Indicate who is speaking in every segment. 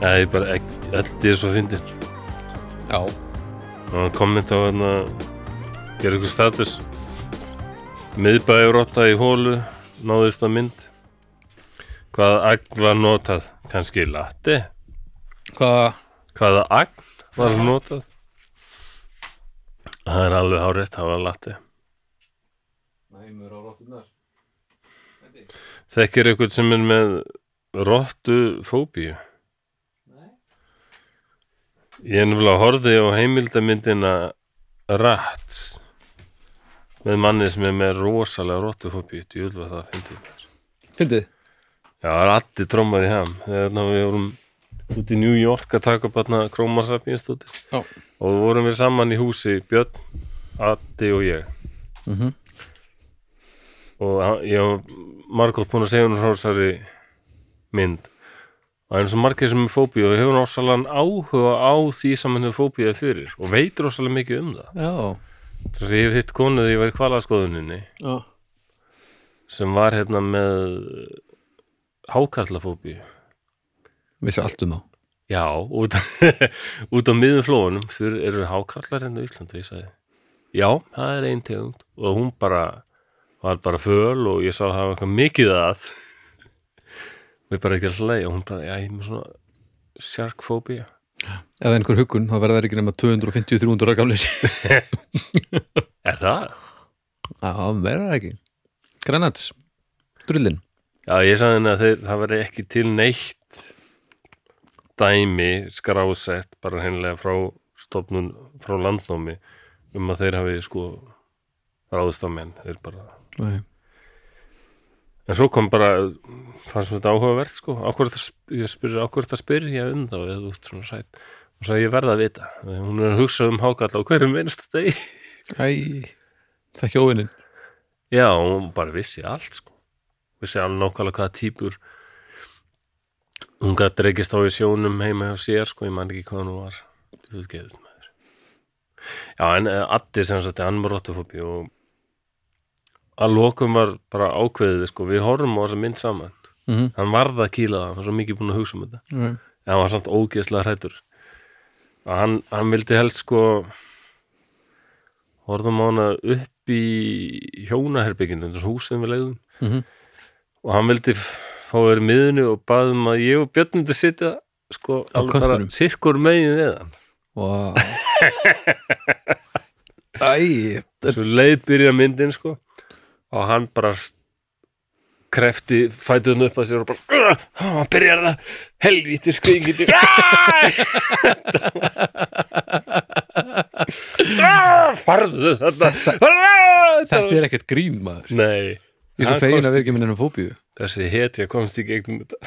Speaker 1: Já, ég bara, Eddi er svo fyndin.
Speaker 2: Já,
Speaker 1: Og hann kommenta á hann að gera ykkur hérna, status. Miðbæði rotta í hólu, náðist að mynd. Hvaða agn var notað? Kanski lati?
Speaker 2: hvað
Speaker 1: Hvaða agn var notað? Það er alveg hárétt, það var lati.
Speaker 3: Næmur á rottunar
Speaker 1: Þekkir ykkur sem er með rottufóbíu?
Speaker 3: Nei
Speaker 1: Ég er nefnilega horfði á heimildamyndina Rats með manni sem er með rosalega rottufóbíu, djúl var það að fyndi
Speaker 2: Fyndið?
Speaker 1: Já, það er allir trómar í ham þegar ná við vorum út í New York að taka upp aðna krómarsapinstúti
Speaker 2: Já.
Speaker 1: og við vorum við saman í húsi Björn, Addi og ég
Speaker 2: Mhm.
Speaker 1: og hann- ég var margótt búin að segja hún frá þessari mynd og það er svo margir sem er fóbíu og hefur rosalega áhuga á því sem hann hefur fóbíu fyrir og veit rosalega mikið um það
Speaker 2: Já,
Speaker 1: þess að ég hef hitt konu þegar ég var í kvalaskoðuninni
Speaker 2: já,
Speaker 1: sem var hérna með hákarlafóbíu
Speaker 2: vissu allt um þá
Speaker 1: Já, út, út á miðum flóunum fyrir eru hákarlar hérna á Íslandi, ég sagði. Já, það er ein tegund og hún bara var bara föl og ég sá það var eitthvað mikið að við bara ekki að hlæja og hún bara, já, ég er með svona sjarkfóbía.
Speaker 2: Ef einhver huggun, þá verða þær ekki nema 250-300 ára gamlir
Speaker 1: Er það?
Speaker 2: Já, verða þær ekki Granats, drullin
Speaker 1: Já, ég sagði henni að þeir, það veri ekki til neitt dæmi skrásett bara hennilega frá stofnun, frá landnámi um að þeir hafi sko ráðist á menn, þeir bara
Speaker 2: Nei.
Speaker 1: En svo kom bara, fannst mér þetta áhugavert sko, ákvörð það, sp- ég spyrir, ákvörð það spyrir ég um þá, eða þú ert svona sætt. Og svo ég verða að vita, Þegar hún er að hugsa um hákalla á hverjum minnst degi.
Speaker 2: Æ, þekki óvinnin
Speaker 1: Já, hún bara vissi allt sko, vissi alveg nákvæmlega hvaða típur. Hún gætt reykist á í sjónum heima hjá sér sko, ég man ekki hvað hún var, þú veit geðið maður. Já, en eh, Addi sem sagt, hann var rottufóbi og að lokum var bara ákveðið sko, við horfum á þessa mynd saman.
Speaker 2: mm
Speaker 1: hann varð að kýla það, hann var svo mikið búin að hugsa um þetta
Speaker 2: -hmm.
Speaker 1: en hann var samt ógeðslega hrættur og hann, hann vildi helst sko horfðum á hana upp í hjónaherbygginu þessu hús sem við leiðum
Speaker 2: Mhm.
Speaker 1: og hann vildi f- fá verið miðinu og baðum að ég og Björn myndi sitja sko,
Speaker 2: Á
Speaker 1: alveg bara
Speaker 2: köntunum.
Speaker 1: sikkur megin við hann
Speaker 2: wow. Æ,
Speaker 1: svo leið byrja myndin sko og hann bara s- krefti fætuðun upp að sér og bara hann byrjar það helvíti skringiti Ah, farðu þetta Ah,
Speaker 2: þetta er ekkert grín maður
Speaker 1: nei
Speaker 2: Ég er
Speaker 1: Hann
Speaker 2: svo fegin
Speaker 1: komst-
Speaker 2: að vera ekki minn ennum fóbíu
Speaker 1: þessi heti komst í gegnum þetta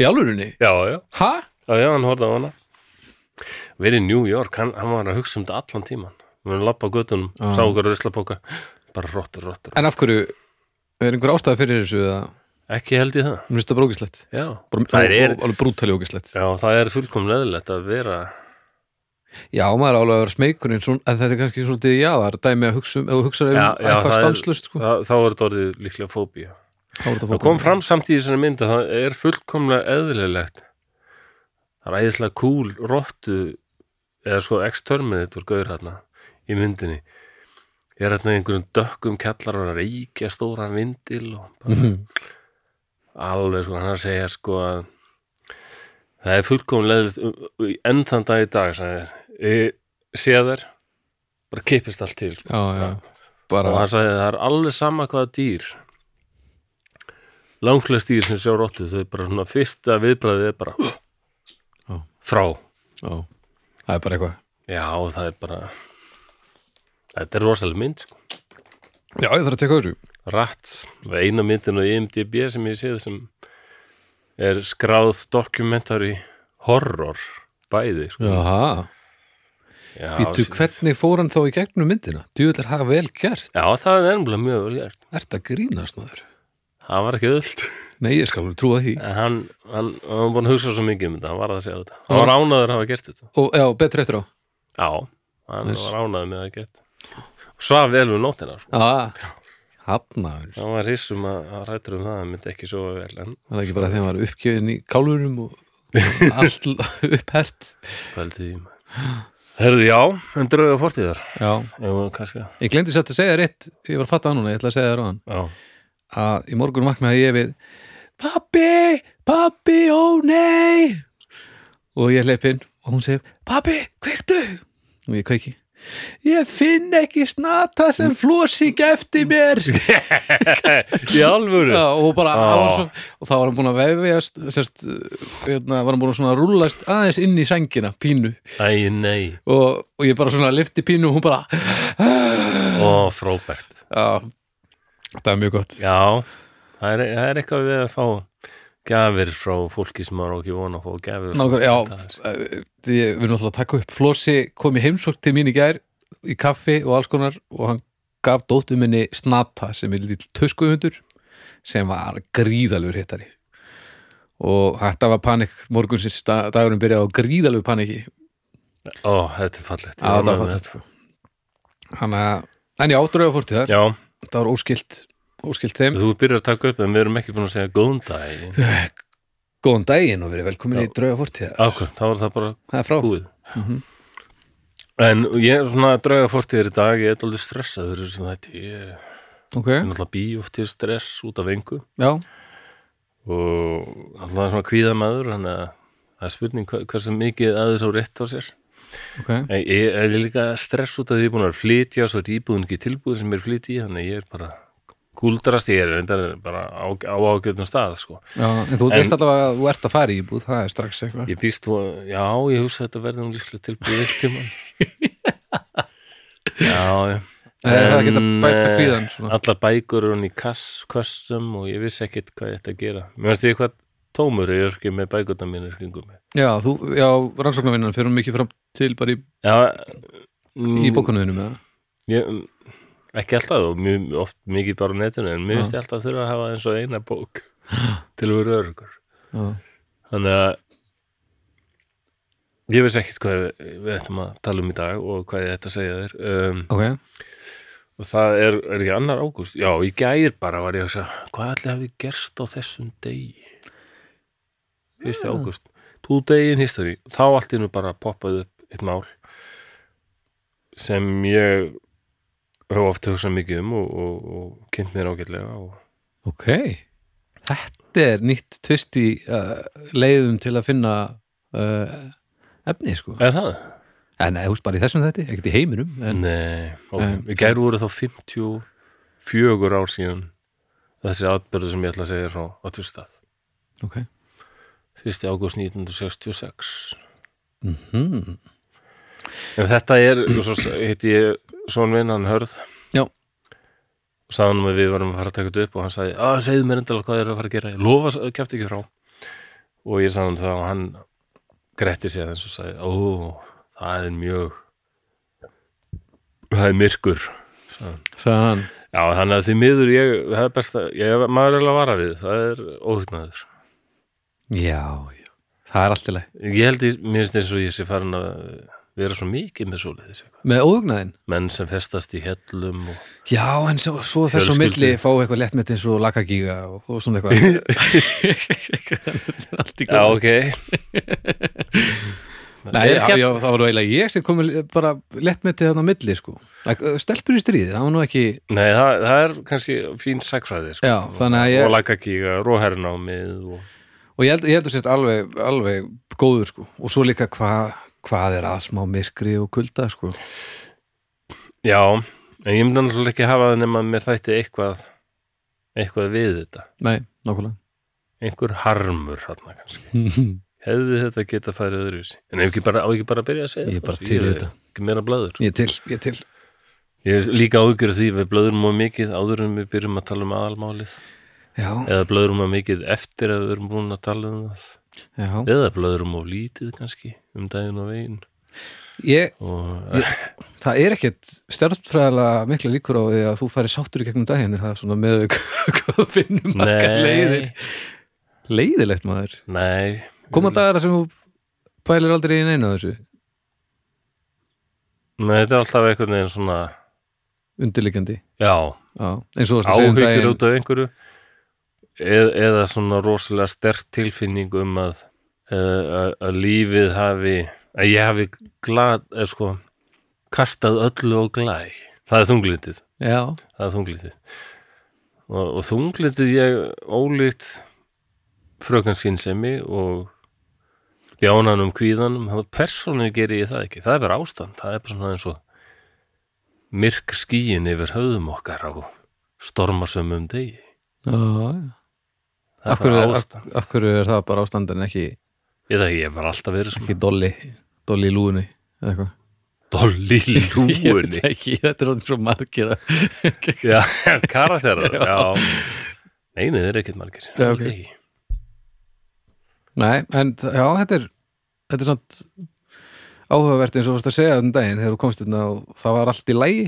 Speaker 2: Í alvörunni?
Speaker 1: já já,
Speaker 2: Ha?
Speaker 1: já, já hann horfði á hana verið í New York, hann, hann var að hugsa um þetta allan tíman við erum lappa á göttunum,
Speaker 2: Ah.
Speaker 1: sá okkur ruslapóka bara rottur, rottur,
Speaker 2: En af hverju, er einhver ástæða fyrir þessu eða,
Speaker 1: ekki held ég það
Speaker 2: mér finnst það bara ógislegt
Speaker 1: já,
Speaker 2: bara,
Speaker 1: það er,
Speaker 2: alveg brútali ógislegt
Speaker 1: Já, það er fullkomlega eðlilegt að vera
Speaker 2: Já, maður er alveg að vera smeykur en, svon, en þetta er kannski svolítið jaðar dæmi að hugsa um, ef þú hugsar um
Speaker 1: Já, já,
Speaker 2: eitthvað
Speaker 1: það er-
Speaker 2: stanslust sko,
Speaker 1: það, þá er þetta orðið líklega fóbía
Speaker 2: þá er þetta
Speaker 1: Það kom fram samt í þessari mynd að það er fullkomlega eðlilegt Það er æðislega cool, rottu eða sko ex-terminator gaur hérna í myndinni Ég er hérna í einhverjum dökkum kjallar og er að reykja stóran vindil og bara
Speaker 2: Mhm.
Speaker 1: alveg sko, hann er að segja sko að það er fullkomlega eðlilegt enn þann dag í dag sagði, ég sé þær bara kippist allt til sko.
Speaker 2: Já, já, bara
Speaker 1: og hann sagði það er alveg sama hvaða dýr langflest dýr sem sjá rottu þau bara svona fyrsta viðbræðið er bara
Speaker 2: Já.
Speaker 1: frá
Speaker 2: já, það er bara eitthvað
Speaker 1: já og það er bara þetta er rosalega mynd sko.
Speaker 2: Já, ég þarf að teka þessu
Speaker 1: rætt eina myndin á IMDB sem ég séð sem er skráð dokumentari horror bæði sko.
Speaker 2: Jaha,
Speaker 1: já,
Speaker 2: býtu
Speaker 1: sí-
Speaker 2: hvernig fór hann þá í gegnum myndina? Djúvill er það vel gert,
Speaker 1: já það er ennumlega mjög vel gert
Speaker 2: ert að grínast maður
Speaker 1: það var ekki öll
Speaker 2: Nei, ég skal alveg trúa því
Speaker 1: en hann, hann, hann var búin að hugsa svo mikið um þetta hann var að segja þetta hann var ánaður að hafa gert þetta
Speaker 2: Og já, betra eftir á
Speaker 1: Já, hann
Speaker 2: Nice.
Speaker 1: var ánæði með það gett og svaf vel um nóttina sko.
Speaker 2: Já, Ah. hafnaður
Speaker 1: hann var rissum að, að rættur um það hann myndi ekki svo vel en
Speaker 2: Það er ekki bara þegar maður er uppgjöðin í kálfurum og allt upphert
Speaker 1: Pældi því maður. Herðu, já, en drauga fortíðar
Speaker 2: já.
Speaker 1: Já, kannski að-
Speaker 2: ég glemdi satt að segja rétt ég var að fatta það núna, ég ætla að segja það ráðan
Speaker 1: Já,
Speaker 2: að í morgun vaknaði ég við pappi, pappi, ó nei og ég hleyp inn og hún segir, pappi, kveiktu og ég kveiki ég finn ekki snata sem flosi gefti mér
Speaker 1: í alvöru
Speaker 2: Já, og, bara,
Speaker 1: Á.
Speaker 2: oh. svo, og þá var hann búin að vefjast sérst, hérna, var hann búin að svona rúllast aðeins inn í sængina, pínu
Speaker 1: Æ, nei,
Speaker 2: og, og ég bara svona lifti pínu og hún bara "Ah."
Speaker 1: ó, frábært
Speaker 2: já, það er mjög gott
Speaker 1: Já, það er, það er eitthvað við að fá gjafir frá fólki sem maður á ekki vona að fá gjafir frá.
Speaker 2: Nákvæm,
Speaker 1: Þetta
Speaker 2: já,
Speaker 1: aðeins.
Speaker 2: eh, ég við erum alltaf að taka upp Flósi kom í heimsókn til mín í gær í kaffi og alls konar og hann gaf dóttu minni Snata sem er lill töskuhundur sem var gríðalur hittari og þetta var panik morgunsins dag- dagurinn byrjaði á gríðalur paniki
Speaker 1: Ó, þetta er fallegt Ég
Speaker 2: Já, það
Speaker 1: ánægður
Speaker 2: var
Speaker 1: með
Speaker 2: fallegt sko Þannig að, en já, drauga fórtíðar
Speaker 1: Já,
Speaker 2: Það var óskilt, óskilt þeim
Speaker 1: þú byrjar að taka upp en við erum ekki búin að segja góðan dag
Speaker 2: Góðan daginn og verið velkomin
Speaker 1: Já.
Speaker 2: í drauga fórtíðar
Speaker 1: Ákvæm, þá var það bara
Speaker 2: Það er frá
Speaker 1: búið En ég er svona að drauga fortíðir í dag ég er alveg stressaður sem þetta ég er
Speaker 2: Ok,
Speaker 1: náttúrulega bíóttir stress út af engu
Speaker 2: já,
Speaker 1: og alltaf svona kvíðamaður þannig að það er spurning hva- hversu mikið að þess á rétt á sér
Speaker 2: ok
Speaker 1: En Ég er líka stress út af því ég er búin að flytja svo er íbúðin ekki tilbúið sem ég er flytja í þannig að ég er bara kúldrast ég er reyndar bara á, á ágjöndum stað sko.
Speaker 2: Já, en þú
Speaker 1: En-
Speaker 2: veist allavega að þú ert að fara í búð, það er strax eitthvað
Speaker 1: ég býst þú að, já, ég hugsa að þetta verður nú líklega tilbúið eitt tíma já, já
Speaker 2: Eh, Það er að geta
Speaker 1: En,
Speaker 2: bæta
Speaker 1: eh,
Speaker 2: kvíðan svona.
Speaker 1: allar bækur eru hann í kass, kössum og ég vissi ekkit hvað ég ætti að gera mér finnst ég eitthvað tómur ég er ekki með bækurna mínir kringum mig
Speaker 2: Já, þú, já, rannsóknarvinnan fyrir hún mikið fram til bara í,
Speaker 1: já, mm,
Speaker 2: í bókunuðinu með það
Speaker 1: Ég, mm, ekki alltaf og mjög, oft mikið bara á netinu en mér
Speaker 2: Já.
Speaker 1: finnst ég alltaf að þurfa að hafa eins og eina bók til að vera örugur
Speaker 2: Já,
Speaker 1: þannig að ég veist ekkit hvað við, við ættum að tala um í dag og hvað ég ætti að segja þér um,
Speaker 2: ok,
Speaker 1: og það er, er ekki annar ágúst já, í gær bara var ég að segja hvað allir hafi gerst á þessum degi fyrsti ja. ágúst tú degin history þá allt innur bara poppaði upp eitt mál sem ég hef oft hugsað mikið um og, og, og kynnt mér ágætlega og
Speaker 2: ok Þetta er nýtt tvist í uh, leiðum til að finna uh, efni, sko
Speaker 1: er það?
Speaker 2: En þú veist bara í þessum þetta, ekkert í heiminum en,
Speaker 1: Nei, ok,
Speaker 2: En-
Speaker 1: í gær voru þá 54 ár síðan þessi atbyrðu sem ég ætla að segja þér frá á tvisstað
Speaker 2: Ok
Speaker 1: fyrsti ágúst 1966
Speaker 2: mm
Speaker 1: En þetta er, og svo hitti ég svona minn, hann Hörð
Speaker 2: Já.
Speaker 1: og sagði hann um að við varum að fara að taka þetta upp og hann sagði, að segðu mér endalega hvað þið eru að fara að gera ég lofa, kæfti ekki frá og ég sagði hann það og hann gretti sér þess og sagði, ó, það er mjög það er myrkur
Speaker 2: Sagði hann
Speaker 1: já, þannig að því miður ég, það er best að ég, maður er alveg að vara við, það er óhugnaður
Speaker 2: Já, já, það er allt í leið
Speaker 1: ég held ég, mér finnst eins og ég sé farin að vera svo mikið með svoleiðis eitthvað.
Speaker 2: Með óugnaðin
Speaker 1: menn sem festast í hellum og
Speaker 2: Já, en svo, svo þess á
Speaker 1: Fjölskyldu.
Speaker 2: milli fá eitthvað létt með eins og lakagíga og, og svona eitthvað Þetta er allt í
Speaker 1: Já,
Speaker 2: góð
Speaker 1: ok
Speaker 2: Nei,
Speaker 1: Ég
Speaker 2: já,
Speaker 1: kem-
Speaker 2: já, það var nú eiginlega ég sem kom bara létt með þetta á milli sko Like, uh, Stelpur í stríði, það var nú ekki
Speaker 1: Nei, það, það er kannski fín sagfræði sko.
Speaker 2: Já, þannig að ég-
Speaker 1: Og lakakíga, róhernámið og...
Speaker 2: og ég held, ég held að sért alveg, alveg góður sko og svo líka hvað hvað er að smá myrkri og kulda sko
Speaker 1: Já, en ég myndi náttúrulega ekki hafa það nema mér þætti eitthvað eitthvað við þetta
Speaker 2: Nei, nákvæmlega
Speaker 1: einhver harmur hérna kannski hefði þetta geta farið öðruvísi en ef ekki bara, á ekki bara að byrja að segja
Speaker 2: Ég er bara
Speaker 1: sko,
Speaker 2: til í
Speaker 1: er
Speaker 2: þetta.
Speaker 1: ekki meira blöður
Speaker 2: Ég er til, ég er til
Speaker 1: ég er líka ágjur því við blöðurum mjög mikið áður en við byrjum að tala um aðalmálið
Speaker 2: Já,
Speaker 1: eða blöðurum mjög mikið eftir að við erum búin að tala um það
Speaker 2: já
Speaker 1: eða blöðurum of lítið kannski um daginn og veginn
Speaker 2: Ég,
Speaker 1: og
Speaker 2: Það er ekkert stjárnfræðilega mikla líkur á því að þú færi sáttur í gegnum daginn er það svona með við hvað þú finnum margar
Speaker 1: Nei.
Speaker 2: leiðir leiðilegt maður
Speaker 1: Nei
Speaker 2: koma dagara sem þú pælir aldrei í neina þessu
Speaker 1: Nei, þetta er alltaf einhvern veginn svona
Speaker 2: undirliggjandi
Speaker 1: Já,
Speaker 2: Já, eins og þú varst að segja um
Speaker 1: áhyggjur
Speaker 2: daginn
Speaker 1: E-, út af einhverju eð, eða svona rosalega stert tilfinning um að eh, að að lífið hafi að ég hafi glad, eða sko kastað öllu og glæ það er þunglitið
Speaker 2: já,
Speaker 1: það er þunglitið og, og þunglitið ég ólít frökan skynsemi og jánanum kvíðanum það persónu geri ég það ekki, það er bara ástand það er bara svona eins og myrk skýin yfir höfðum okkar á stormasömmum degi
Speaker 2: já, já.
Speaker 1: það
Speaker 2: Af
Speaker 1: er bara
Speaker 2: hverju, af,
Speaker 1: ástand
Speaker 2: af hverju er það bara ástandin ekki,
Speaker 1: ég, það, ég var alltaf verið svona
Speaker 2: ekki dolli dolli í lúinu eða eitthvað
Speaker 1: dolli í
Speaker 2: Ég veit
Speaker 1: lúgunni
Speaker 2: ekki, þetta er orðin svo margir að-
Speaker 1: já, karakterar já, neini, þeir eru ekkert margir
Speaker 2: Já, ok.
Speaker 1: Alls ekki.
Speaker 2: Nei, en þ- já, þetta er þetta er samt áhugavert eins og varst að segja þannig daginn þegar þú komst hérna og það var allt í lægi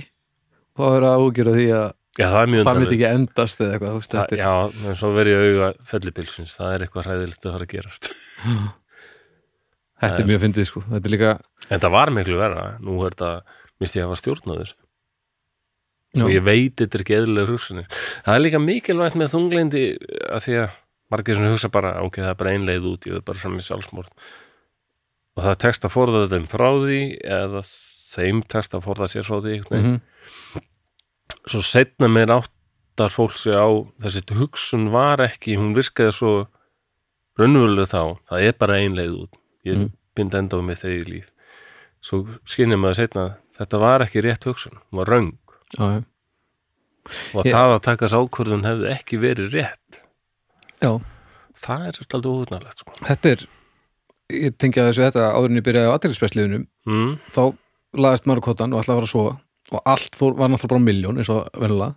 Speaker 2: þá er það ágjörð því að
Speaker 1: já, það er mjög
Speaker 2: það myndi
Speaker 1: undarlegt.
Speaker 2: ekki endast eða eitthvað, þú veist,
Speaker 1: Það,
Speaker 2: þetta er
Speaker 1: já, en svo verið ég auga fellipilsins, það er eitthvað hræðilegt að fara að gerast
Speaker 2: Þetta er mjög fyndið sko, þetta er líka
Speaker 1: en það var miklu verra, nú er þetta misti ég að hafa stjórn á þessu
Speaker 2: já,
Speaker 1: og ég veit þetta er ekki eðlilega hugsanir það er líka mikilvægt með þungleindi að því að margir sem hugsa bara ok, það er bara ein leið út, ég er bara fram í sjálfsmórn og það tekst að forða þeim frá því eða þeim tekst að forða sér frá því mm
Speaker 2: mhm,
Speaker 1: svo setna meir áttar fólk sig á þessi hugsun var ekki, hún virkaði svo raunvölu þá, það er bara ein leið út ég mm.
Speaker 2: Mm.
Speaker 1: bind enda á mig þegi líf svo skinnir maður setna þetta var ekki rétt hugsun, hún var röng
Speaker 2: já, já.
Speaker 1: og
Speaker 2: Ég-
Speaker 1: það að takast ákvörðun hefði ekki verið rétt
Speaker 2: já,
Speaker 1: það er alltaf óhutnarlegt sko.
Speaker 2: þetta er ég tengja þessu þetta áður en ég byrjaði á aðeinspressliðunum
Speaker 1: mm,
Speaker 2: þá laðist maður á kottan og ætlaði að fara að sofa og allt fór, var náttúrulega bara miljón eins og venulega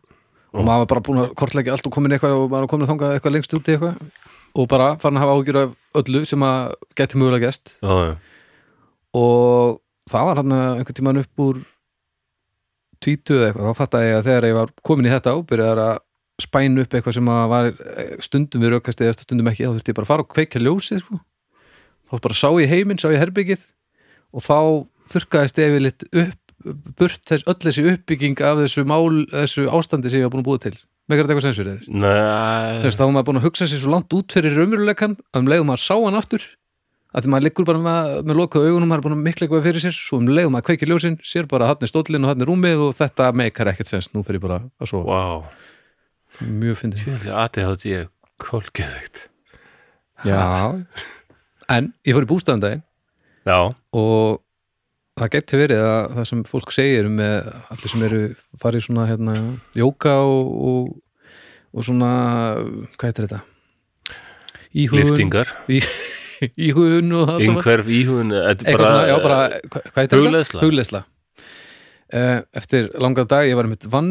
Speaker 2: og
Speaker 1: Mm.
Speaker 2: maður var bara búin að kortleggja allt og komin eitthvað og maður var komin að þangað eitthvað lengst út í eitthvað og bara farin að hafa ágjur af öllu sem að geti mögulega gest
Speaker 1: já, já.
Speaker 2: og það var hann einhvern tímann upp úr tvítuð eða eitthvað, þá fattaði ég að þegar ég var komin í þetta og byrjaði að spæna upp eitthvað sem að var eh, stundum við rökkast eða stundum ekki, þá þurfti ég bara að fara og kveika ljósið sko. þá bara sá ég heiminn, sá ég herbyggið og þá þurrkaðist ég litt upp burt þess, öll þessi uppbygging af þessu, mál, þessu ástandi sem ég var búin að búa til með þetta eitthvað sensur þeir
Speaker 1: Nei,
Speaker 2: Þess, þá var maður búin að hugsa sér svo langt út fyrir raunveruleikan að um leiðum maður sá hann aftur að því maður liggur bara með, með lokuð augunum maður er búin að mikla eitthvað fyrir sér svo um leiðum maður kveikir ljósin, sér bara hann er stóllin og hann er rúmið og þetta meikar ekkert sens nú fyrir ég bara að sofa,
Speaker 1: wow
Speaker 2: mjög fyndið
Speaker 1: tjóðli aðið þátt ég kólgeðveikt
Speaker 2: Já, en ég fór í bústæðan daginn
Speaker 1: já,
Speaker 2: og það geti verið að það sem fólk segir með allir sem eru farið í svona hérna, jóka og, og, og svona hvað heitir þetta? Íhugun,
Speaker 1: liftingar
Speaker 2: íhugun og það allt saman.
Speaker 1: einhverf íhun þetta er
Speaker 2: eitthvað svona, já, bara,
Speaker 1: bara eh,
Speaker 2: hva- hvað heitir þetta?
Speaker 1: hugleiðsla.
Speaker 2: Hugleiðsla. Eh, eftir langan dag, ég var einmitt vann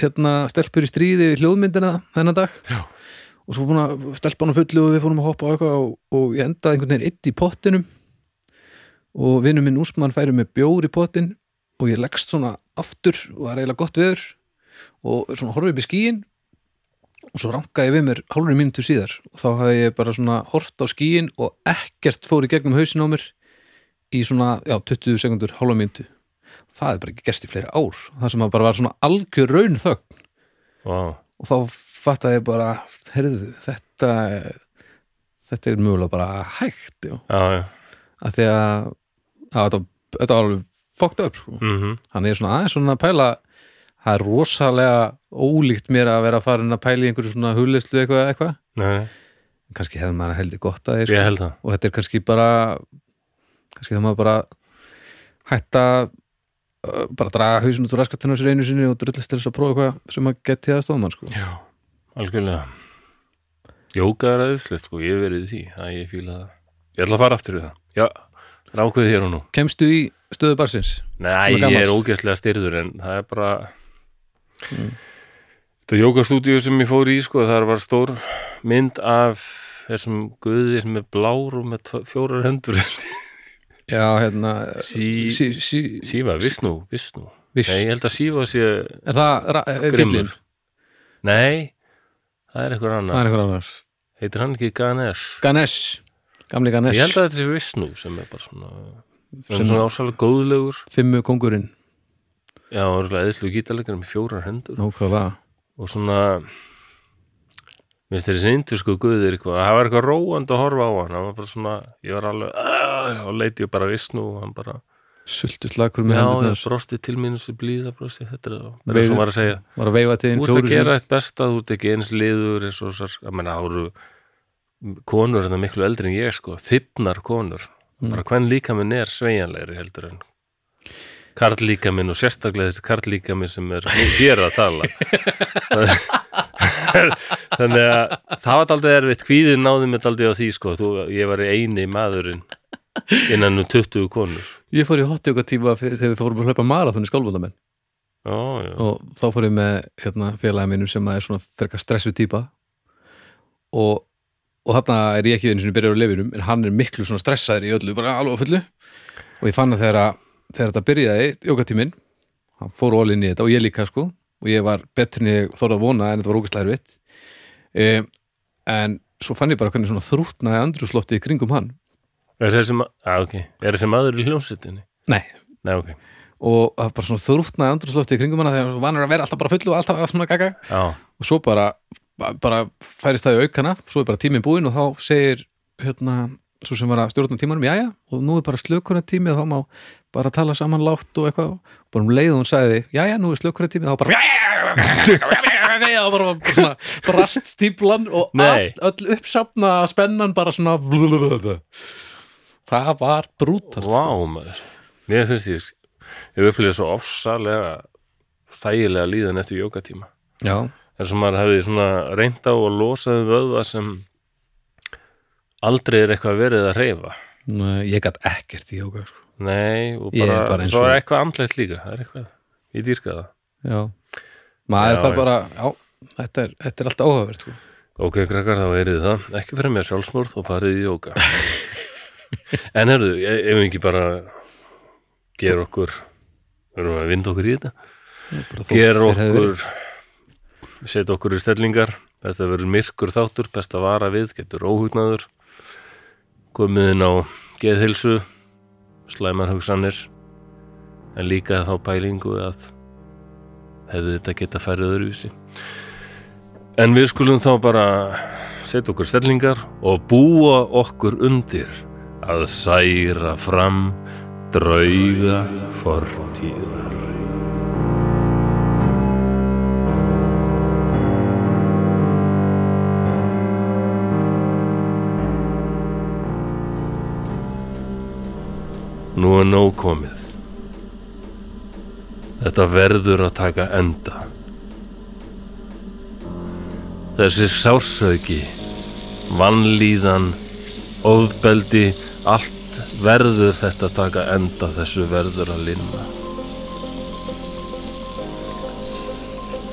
Speaker 2: hérna, stelpur í stríði við hljóðmyndina þennan dag já. og svo búin að stelpa hann fullu og við fórum að hoppa og eitthvað og, og ég endaði einhvern veginn eitt í pottinum og vinnum minn úsmann færi með bjór í pottin og ég leggst svona aftur og það er eiginlega gott veður og svona horfið upp í skíin og svo rankaði ég við mér hálfri mínútu síðar og þá hafði ég bara svona hort á skíin og ekkert fór í gegnum hausin á mér í svona, já, 20 sekundur, hálfa myndu það er bara ekki gerst í fleiri ár það sem að bara var svona algjör raun þögn
Speaker 1: wow.
Speaker 2: og þá fattaði ég bara, heyrðu þetta þetta er mögulega bara hægt, já,
Speaker 1: já, já.
Speaker 2: að því að að þetta, þetta var alveg fucked up, sko,
Speaker 1: Mm
Speaker 2: hann er svona aðeins svona að pæla það er rosalega ólíkt mér að vera farin að pæla í einhverju svona hulislu eitthvað, eitthvað
Speaker 1: nei, nei.
Speaker 2: kannski hefði maður heldur gott að því, sko
Speaker 1: ég held það
Speaker 2: og þetta er kannski bara kannski það maður bara hætta uh, bara draga hausinn út úr raskatunum sér einu sinni og drullast til þess að prófa eitthvað sem að geti það stóðum mann sko
Speaker 1: Já, algjörlega Jóka er aðeinslegt sko, ég hef verið í því Það ég fíla það Ég ætla að fara aftur í það Já, það er ákveðið hér og nú
Speaker 2: Kemstu í stöðu barsins?
Speaker 1: Nei,
Speaker 2: Svona
Speaker 1: ég
Speaker 2: gamall.
Speaker 1: er ógeðslega styrður en það er bara Mm. Þetta jókastúdíu sem ég fór í sko, þar var stór mynd af þessum guði sem er blár og með tvo- fjórar hendur
Speaker 2: Já, hérna
Speaker 1: sí,
Speaker 2: sí, sí,
Speaker 1: Síva, Visnú, Visnú
Speaker 2: viss,
Speaker 1: Nei, ég held að Síva sé
Speaker 2: Er það ra- eh, er
Speaker 1: grimmur
Speaker 2: fyllinn?
Speaker 1: Nei, það er eitthvað
Speaker 2: Það
Speaker 1: annar
Speaker 2: er einhver annar
Speaker 1: Heitir hann ekki Ganesh?
Speaker 2: Ganesh, gamli
Speaker 1: Ég held
Speaker 2: Ganesh
Speaker 1: að þetta sé Visnú sem er bara svona sem
Speaker 2: Sem-
Speaker 1: er svona ásalega góðlegur
Speaker 2: Fimmu kongurinn,
Speaker 1: Já, og eðislu gítarleikar með fjórar hendur
Speaker 2: nákvæða
Speaker 1: og svona minnst þeir þessi indusku guðir eitthvað, það var eitthvað róandi að horfa á hann hann var bara svona, ég var alveg "Ah", og leiti ég bara vissnu og hann bara
Speaker 2: sultuslakur með
Speaker 1: já,
Speaker 2: hendurnar
Speaker 1: ég brosti til mín þessu blíða brosti, þetta er það, það
Speaker 2: Veiðu-
Speaker 1: er svo var að segja
Speaker 2: var að veifa til þín
Speaker 1: þú ert
Speaker 2: fjóru
Speaker 1: að
Speaker 2: sinni.
Speaker 1: gera eitt besta, þú ert ekki eins liður eins og þessar, ég meina, það voru konur þetta miklu eldri en ég sko þyfnar konur,
Speaker 2: Mm.
Speaker 1: bara hvern líkaminn er sveigjanlegri heldur en karlíkaminn og sérstaklega þessi karlíkaminn sem er hér að tala þannig að það var aldrei erfitt kvíðin náði mér aldrei á því sko þú, ég var eini maðurinn innan um 20 konur
Speaker 2: ég fór í hotjóka tíma þegar við fórum að hlaupa marathon í skólbóndamenn
Speaker 1: Ó, já.
Speaker 2: og þá fór ég með hérna, félagin mínum sem er svona frekar stressu típa og, og þarna er ég ekki einu sinni byrjar á lefinum en hann er miklu svona stressaður í öllu bara alveg á fullu og ég fann að þegar, að- þegar þetta byrjaði, jókatíminn hann fór ólinn í þetta og ég líka sko og ég var betri en ég þorði að vona en þetta var ógæstlega erfitt um, en svo fann ég bara hvernig svona þrútnaði andrúsloftið í kringum hann
Speaker 1: er þessi, ma ah, okay. er þessi maður í hljómsveitinni?
Speaker 2: nei,
Speaker 1: Nei, ok,
Speaker 2: og það var bara svona þrútnaði andrúsloftið í kringum hann þegar hann var vanur að vera alltaf bara fullu og alltaf svona gaga
Speaker 1: á
Speaker 2: og svo bara, bara færist það í aukana, svo er bara tíminn búinn og þá segir hérna, svo sem var að stjórna tímanum, jæja, og nú er bara slökuna tími og þá má bara tala saman látt og eitthvað, bara um leið og hún sagði jæja, nú er slökuna tími, þá bara jæja, þá bara, bara svona brast stíplan og
Speaker 1: Nei.
Speaker 2: all, öll uppsafna spennan bara svona það var brútalt
Speaker 1: Vá maður Mér finnst ég, ég upplýði svo ofsalega þægilega líðan eftir jókatíma
Speaker 2: já,
Speaker 1: En svo maður hefði svona reynd á að losa um vöðva sem aldrei er eitthvað verið að reyfa
Speaker 2: Nei, ég gat ekkert í jóka sko.
Speaker 1: Nei, og
Speaker 2: Ég er
Speaker 1: bara,
Speaker 2: bara eins
Speaker 1: svo
Speaker 2: og-
Speaker 1: er eitthvað andlegt líka Það er eitthvað, ég dýrka það
Speaker 2: já, maður
Speaker 1: Já,
Speaker 2: þarf
Speaker 1: já.
Speaker 2: bara já, þetta er, þetta er alltaf áhugavert sko.
Speaker 1: Ok, krakkar, þá erið það. Ekki fyrir mér sjálfsmórð og farið í jóka. en herðu, e- ef við ekki bara gera okkur, verðum við að vinda okkur í þetta,
Speaker 2: Bara þó
Speaker 1: gera
Speaker 2: fyrr hefði verið.
Speaker 1: okkur, setja okkur í stellingar, þetta verður myrkur þáttur, best að vara við, getur óhugnaður, komið inn á geðhilsu, slæmar hugsanir, en líka þá pælingu að hefði þetta geta færið öðruvísi. En við skulum þá bara setja okkur stellingar og búa okkur undir að særa fram drauga fortíðar. Nú er nóg komið. Þetta verður að taka enda. þessi sársauki, vannlíðan, ofbeldi, allt verður þetta að taka enda, þessu verður að linna.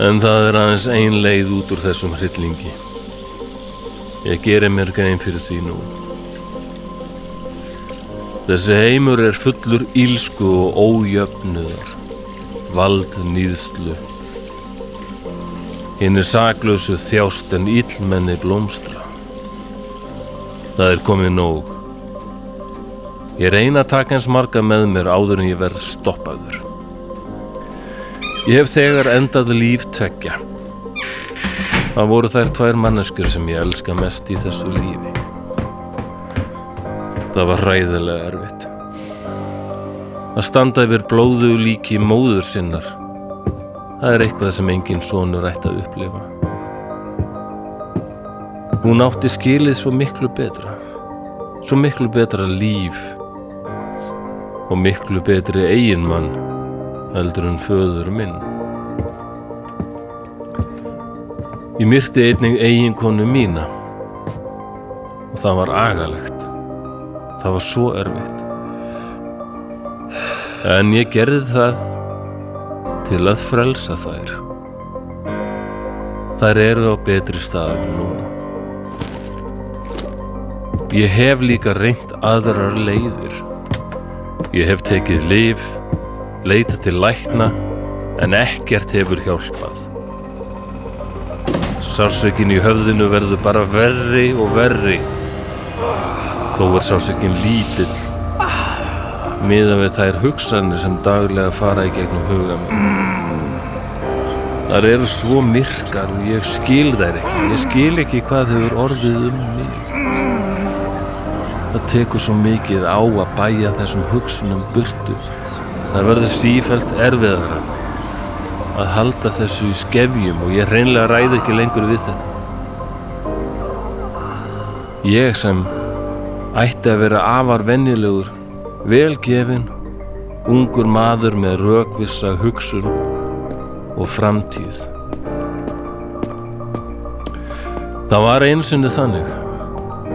Speaker 1: En það er aðeins ein leið út úr þessum hryllingi. Ég geri mér grein fyrir því nú. Þessi heimur er fullur ílsku og ójöfnuðar, valdnýðslu hinn er saklausu þjást en illmenni blómstra. Það er komið nóg. Ég reyna að taka eins marga með mér áður en ég verð stoppaður. Ég hef þegar endað líf tvekja. Það voru þær tvær manneskjur sem ég elska mest í þessu lífi. Það var hræðilega erfitt. Að standa yfir blóðu líki móður sinnar Það er eitthvað sem enginn sonur ætti að upplifa. Hún átti skilið svo miklu betra. Svo miklu betra líf. Og miklu betri eiginmann heldur en föður minn. Ég myrti einnig eiginkonu mína. Og það var agalegt. Það var svo erfitt. En ég gerði það til að frelsa þær. Þær eru á betri stað núna. Ég hef líka reynt aðrar leiðir. Ég hef tekið líf, leita til lækna, en ekkert hefur hjálpað. Sásökin í höfðinu verður bara verri og verri. Þó er sásökin lítill, miðan við þær hugsanir sem daglega fara í gegnum huga mér. þar eru svo myrkar og ég skil þær ekki ég skil ekki hvað hefur orðið um mig það tekur svo mikið á að bæja þessum hugsunum burtu það verður sífælt erfiðara að halda þessu í skefjum og ég reynlega ræð ekki lengur við þetta ég sem ætti að vera afar venjulegur velgefin ungur maður með rökvissa hugsun og framtíð. Það var einsunni þannig,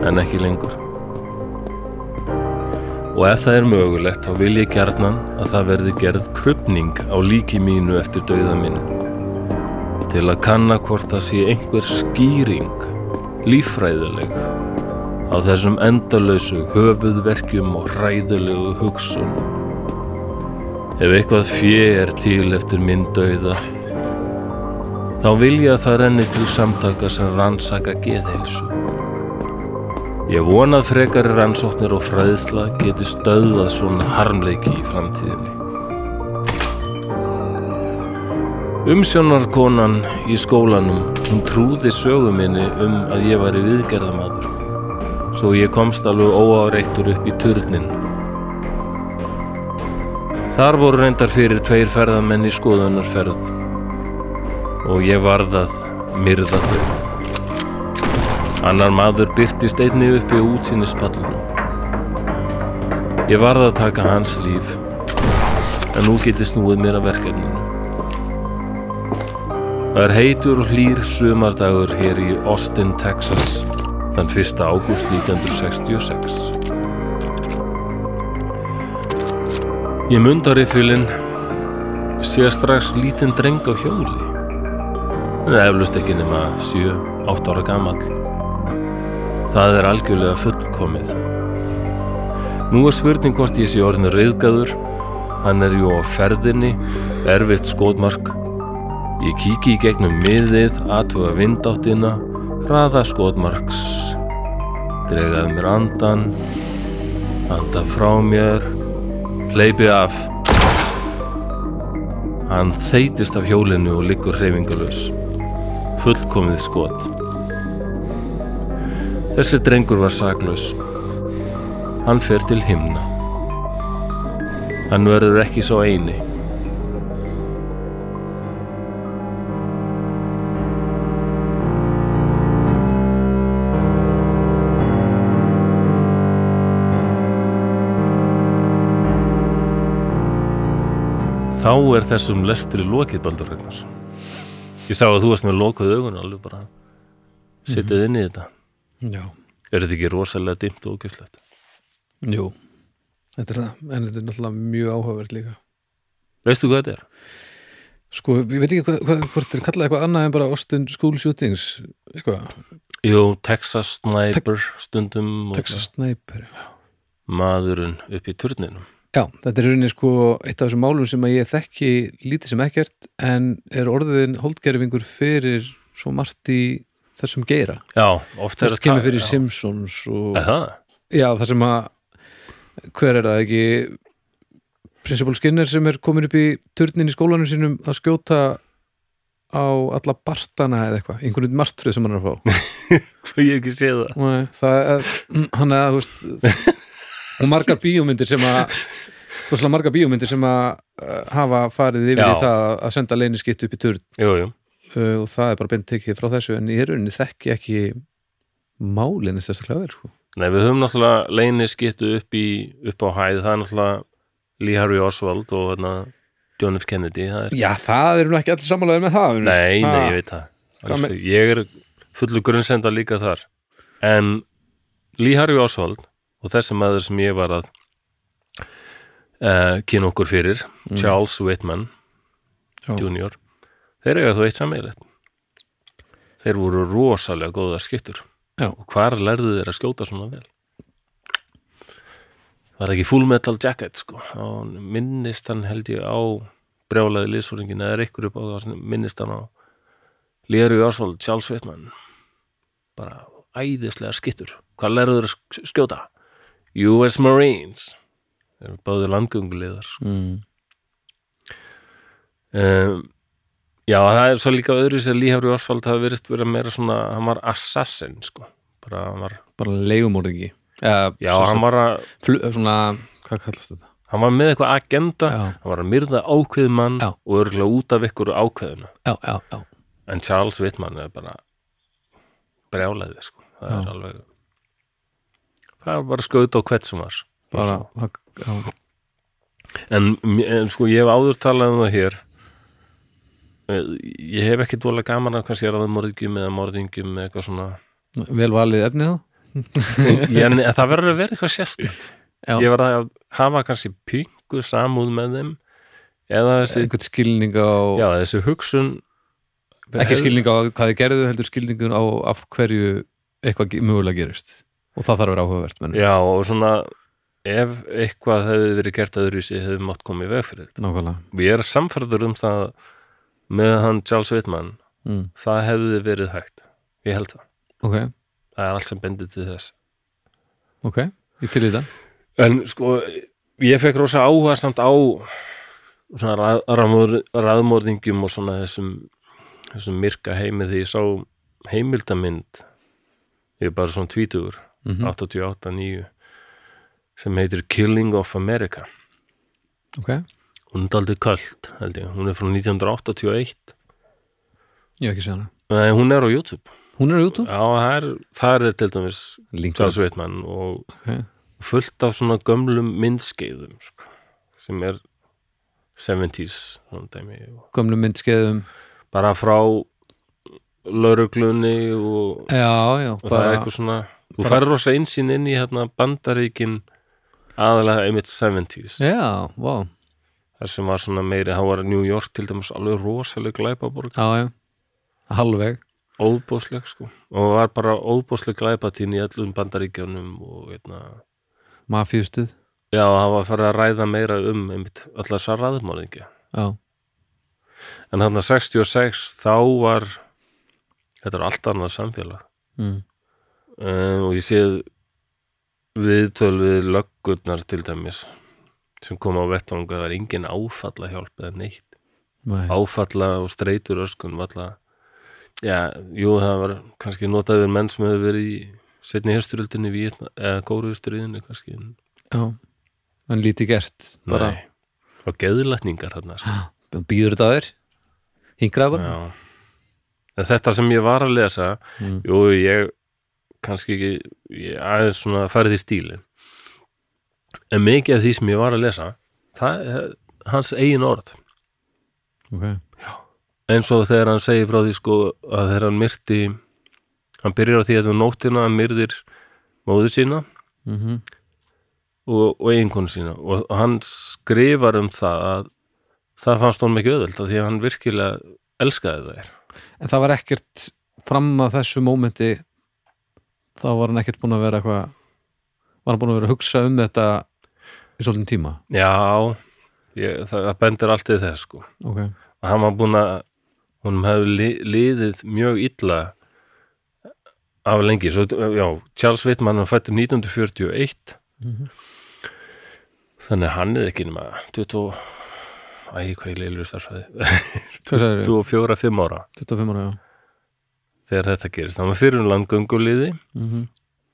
Speaker 1: en ekki lengur. Og ef það er mögulegt, þá vil ég gjarnan að það verði gerð krupning á líki mínu eftir dauða mínu. Til að kanna hvort það sé einhver skýring, líffræðileg, á þessum endalösu höfuðverkjum og hræðilegu hugsun. Ef eitthvað fjö er til eftir minn dauða, þá vil ég að það renni til samtaka sem rannsaka geðheilsu. Ég vonað frekari rannsóknir og fræðsla geti stöðað svona harmleiki í framtíðinni. Umsjónarkonan í skólanum, hún trúði sögu minni um að ég var í viðgerðamadur, svo ég komst alveg óáreittur upp í turnin Þar voru reyndar fyrir tveir ferðamenn í skoðunarferð og ég varðað myrða þau. Annar maður byrtist einni upp í útsýnispallunum. Ég varð að taka hans líf en nú geti snúið mér að verkefninu. Það er heitur og hlýr sumardagur hér í Austin, Texas þann 1. ágúst 1966. Ég munda riffilinn, sé strax lítinn dreng á hjóli. Hann er eflust ekki nema 7-8 ára gamall. Það er algjörlega fullkomið. Nú er spurning hvort ég sé orðin reyðgæður. Hann er jú á ferðinni, erfitt skotmark. Ég kíki í gegnum miðið, athuga vindáttina, hraða skotmarks. Dregaði mér andan, anda frá mér, Hleypi af. Hann þeytist af hjólinu og liggur hreyfingalus. Fullkomið skot. Þessi drengur var saklaus. Hann fer til himna. Hann verður ekki svo eini. Þá er þessum lestri lokið, Baldur Ragnars. Ég sá að þú varst með lokuð augun alveg bara. Sittið inn í þetta.
Speaker 2: já,
Speaker 1: Er þetta ekki rosalega dimmt og ógæslegt?
Speaker 2: jú þetta er það, en þetta er náttúrulega mjög áhugavert líka
Speaker 1: Veistu hvað þetta er?
Speaker 2: sko, ég veit ekki hvað, hvað, hvort er kallað eitthvað annað en bara Austin School Shootings eitthvað,
Speaker 1: Jú, Texas Sniper stundum og
Speaker 2: Texas Sniper
Speaker 1: maðurinn upp í turninum.
Speaker 2: já, þetta er í rauninni sko eitt af þessum málum sem að ég þekki lítið sem ekkert en er orðin holdgerfingur fyrir svo margt í þessum geira
Speaker 1: Já, oft er
Speaker 2: þess kemur fyrir
Speaker 1: já.
Speaker 2: Simpsons og
Speaker 1: Er Það,
Speaker 2: Já, það sem að hver er það ekki Principal Skinner sem er komin upp í turnin í skólanum sínum að skjóta á alla bartana eða eitthvað, einhvern veit martröð sem hann er að fá
Speaker 1: hvað ég hef ekki séð það.
Speaker 2: Nei, það er, hann er, þú veist og margar bíómyndir sem að rosalega margar bíómyndir sem að uh, hafa farið yfir
Speaker 1: Já.
Speaker 2: í það að senda leyniskitt upp í turn
Speaker 1: Jú, jú.
Speaker 2: uh, og það er bara beint tekið frá þessu en í rauninni þekki ekki málinn þess að vel sko.
Speaker 1: Nei, við höfum náttúrulega leini skittu upp, í, upp á hæð, það er náttúrulega Lee Harvey Oswald og hérna, John F. Kennedy, það er...
Speaker 2: Já, það eru nú ekki allir sammálaðir með það vinur.
Speaker 1: Nei,
Speaker 2: Ha.
Speaker 1: nei, ég veit það
Speaker 2: Hvað
Speaker 1: Alls,
Speaker 2: með-
Speaker 1: Ég er fullu grunnsenda líka þar En Lee Harvey Oswald og þessi maður sem ég var að uh, kynna okkur fyrir Charles Whitman
Speaker 2: Mm. Já.
Speaker 1: Jr. Þeir eiga þó eitt sammeilegt Þeir voru rosalega góðar skiptur
Speaker 2: Já.
Speaker 1: og hvar lærðu þeir að skjóta svona vel? Var ekki full metal jacket sko og minnist hann held ég á brjálaði liðsfóringin eða er ykkur upp á það sem minnist hann á Léru Jórsvald, Charles Whitman bara æðislega skittur hvað lærðu þeir að sk- skjóta? US Marines þeir eru báðir landgönguleðar sko.
Speaker 2: mm.
Speaker 1: um, Já, það er svo líka öðru sér Líhafri Osvald hafi verist verið meira svona, hann var assassin, sko. Bara, hann var,
Speaker 2: bara leigumorðingi Eða,
Speaker 1: já,
Speaker 2: sem
Speaker 1: hann
Speaker 2: sagt,
Speaker 1: var, að,
Speaker 2: flu, Svona, hvað kallast þetta?
Speaker 1: hann var með eitthvað agenda,
Speaker 2: Já.
Speaker 1: hann var að myrða ákveðið mann
Speaker 2: Já.
Speaker 1: og örgulega út af ykkur ákveðinu.
Speaker 2: Já, já, já
Speaker 1: En Charles Whitman er bara brjálæði, sko. Það
Speaker 2: Já.
Speaker 1: er alveg, það var bara skauta á hvert sem var.
Speaker 2: bara, já,
Speaker 1: En, en sko, ég hef áður talað um það hér. Eh, Ég hef ekki dvolega gaman af kannski ráðmorðingjum eða morðingjum eða eitthvað svona.
Speaker 2: vel valið efnið þá
Speaker 1: ég, en það verður að vera eitthvað sérstætt
Speaker 2: Já.
Speaker 1: ég verður að hafa kannski pingu samúð með þeim eða þessi,
Speaker 2: einhvern skilning á,
Speaker 1: já, þessi hugsun
Speaker 2: ekki skilning á hvað þið gerðu heldur skilningun á af hverju eitthvað ge- mögulega gerist og það þarf að vera áhugavert menn
Speaker 1: já og svona ef eitthvað hefði verið gert öðruvísi hefði mátt komið í veg fyrir
Speaker 2: nákvæmlega
Speaker 1: þetta og ég er samferður um það með hann Charles Whitman
Speaker 2: mm.
Speaker 1: það hefði verið hægt, ég held það
Speaker 2: ok,
Speaker 1: það er allt sem bendir til þess
Speaker 2: ok, ég til í þetta
Speaker 1: En sko, ég fekk rosa áhuga samt á svona rað, raðmór, raðmóringjum og svona þessum, þessum myrka heimi því ég sá heimildamynd ég er bara svona tvítugur
Speaker 2: Mhm.
Speaker 1: 88, 9 sem heitir Killing of America
Speaker 2: ok,
Speaker 1: hún er daldið kalt, held ég hún er frá 1981
Speaker 2: ég hef ekki séð hana
Speaker 1: Nei, hún er á YouTube
Speaker 2: hún er á YouTube,
Speaker 1: Já, það er, það er til dæmis
Speaker 2: linkur
Speaker 1: Charles Whitman og
Speaker 2: okay.
Speaker 1: fullt af svona gömlum myndskeiðum sko, sem er 70s svona dæmi, og
Speaker 2: gömlu myndskeiðum
Speaker 1: bara frá lauruglunni og,
Speaker 2: já, já,
Speaker 1: og það er
Speaker 2: bara
Speaker 1: eitthvað svona þú
Speaker 2: bara-
Speaker 1: færir rosa einsinn inn í hérna bandaríkin aðalega einmitt 70s
Speaker 2: já, vá,
Speaker 1: þar sem var svona meiri, þá var New York til dæmis alveg rosaleg glæpaborg
Speaker 2: já, já halvveg,
Speaker 1: óbúsleg sko og var bara óbúsleg glæpatín í allum bandaríkjunum og hérna
Speaker 2: mafíustuð
Speaker 1: já, það var að fara að ræða meira um einmitt allar sá raðmörðingja
Speaker 2: já,
Speaker 1: En hann að 66 þá var þetta er allt annað samfélag
Speaker 2: mm.
Speaker 1: uh, og ég séð viðtöl við löggurnar til dæmis sem kom á vettvang að það er engin áfalla hjálp eða neitt.
Speaker 2: nei,
Speaker 1: Áfalla og streitur öskun var alltaf já, jú, það var kannski notaður menn sem hefur verið í setni hérsturöldinni eða kóruðusturöðinni kannski. en
Speaker 2: já en lítið gert, bara
Speaker 1: Nei. Og geðlætningar þarna. Sko.
Speaker 2: býður þetta að þér hingraði bara
Speaker 1: Já. En þetta sem ég var að lesa
Speaker 2: Mm.
Speaker 1: Jú, ég kannski ekki ég aðeins svona farið í stílin en mikið af því sem ég var að lesa það er hans eigin orð
Speaker 2: ok,
Speaker 1: eins og þegar hann segir frá því sko að þegar hann myrti hann byrjar á því að um nóttina hann myrðir móður sína
Speaker 2: mhm
Speaker 1: og, og eiginkonu sína og hann skrifar um það að það fannst honum ekki öðvöld því að hann virkilega elskaði þær
Speaker 2: En það var ekkert fram að þessu mómenti þá var hann ekkert búin að vera eitthvað var hann búin að vera að hugsa um þetta í svolítinn tíma
Speaker 1: Já, ég, það, það bendir allt í þess sko
Speaker 2: Ok,
Speaker 1: og hann var búinn að honum hefði li- liðið mjög illa af lengi Svo, já, Charles Whitman hann fættur 1941
Speaker 2: Mhm.
Speaker 1: þannig að hann er ekki nema 20 æg hvað ég leilur starfæði
Speaker 2: hvað sagði
Speaker 1: 24-5 ára
Speaker 2: 25 ára, já
Speaker 1: þegar þetta gerist, hann var fyrir um langönguliði
Speaker 2: mm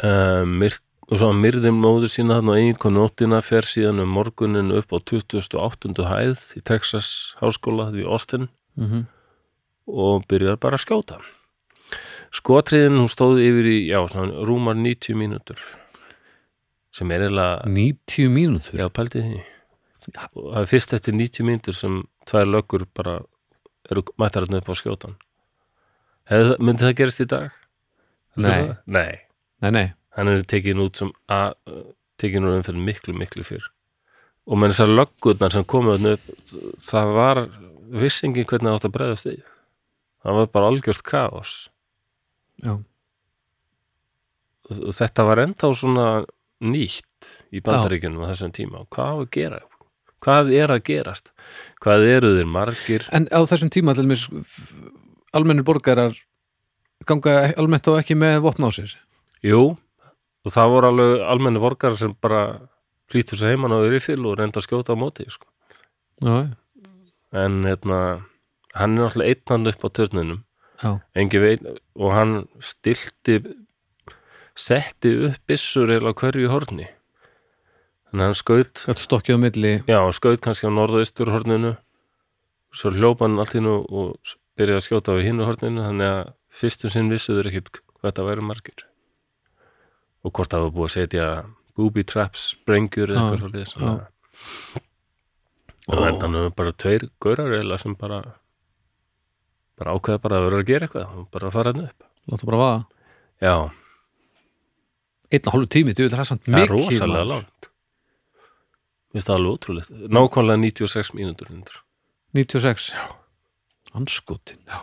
Speaker 1: uh, myrt, og svo hann myrði móður sína þarna á eiginkonu nóttina fer síðan um morgunin upp á 2008. hæð í Texas háskóla því Austin
Speaker 2: -hmm.
Speaker 1: og byrjar bara að skjóta skotriðin hún stóð yfir í já, svona, rúmar 90 mínútur sem er eiginlega
Speaker 2: 90 mínútur
Speaker 1: já, pældi því og það er fyrst eftir 90 mínútur sem tvær löggur bara eru mættar hann upp á skjótan Hefði, myndi það gerist í dag?
Speaker 2: Nei.
Speaker 1: Það- Nei,
Speaker 2: Nei, nei,
Speaker 1: hann er tekin út sem a, tekin úr umferð miklu, miklu fyrr og menn þessar löggurnar sem komu þarna upp, það var vissingi hvernig það átt að bregðast í það var bara algjört kaos
Speaker 2: já,
Speaker 1: og þetta var ennþá svona nýtt í bandaríkjunum á þessum tíma og hvað á að gera hvað er að gerast hvað eru þeir margir
Speaker 2: En á þessum tíma til mér almennir borgarar ganga almennt þá ekki með vopna á sér
Speaker 1: jú, og það voru alveg almenni vorgar sem bara flýtur sér heimann á yfir og reynda að skjóta á móti sko.
Speaker 2: Já, já.
Speaker 1: en hérna hann er náttúrulega einn hann upp á törnunum
Speaker 2: Já.
Speaker 1: engi veit og hann stilti setti upp byssur eða hverju horni þannig að hann skaut
Speaker 2: Gætt stokkið á milli
Speaker 1: já, hann skaut kannski á norðaustur horninu svo hljópa hann allt innu og s- byrjaði að skjóta á hinu horninu þannig að fyrstu sinn vissuður ekkit hvað þetta væri margir og hvort það var búið að setja booby traps, sprengjur eða
Speaker 2: Já,
Speaker 1: eitthvað svo liðis
Speaker 2: já.
Speaker 1: og
Speaker 2: Ó.
Speaker 1: endan er bara tveir gaurar eða sem bara bara ákveða bara að vera að gera eitthvað og bara að fara hann upp
Speaker 2: Láta bara vaða
Speaker 1: já,
Speaker 2: Einn og hálfu tími, þú vil það samt
Speaker 1: það er
Speaker 2: mikið hérna.
Speaker 1: rosalega
Speaker 2: maður.
Speaker 1: langt Mér finnst það alveg ótrúlegt nákvæmlega 96 mínútur hundur
Speaker 2: 96 Anskotin Já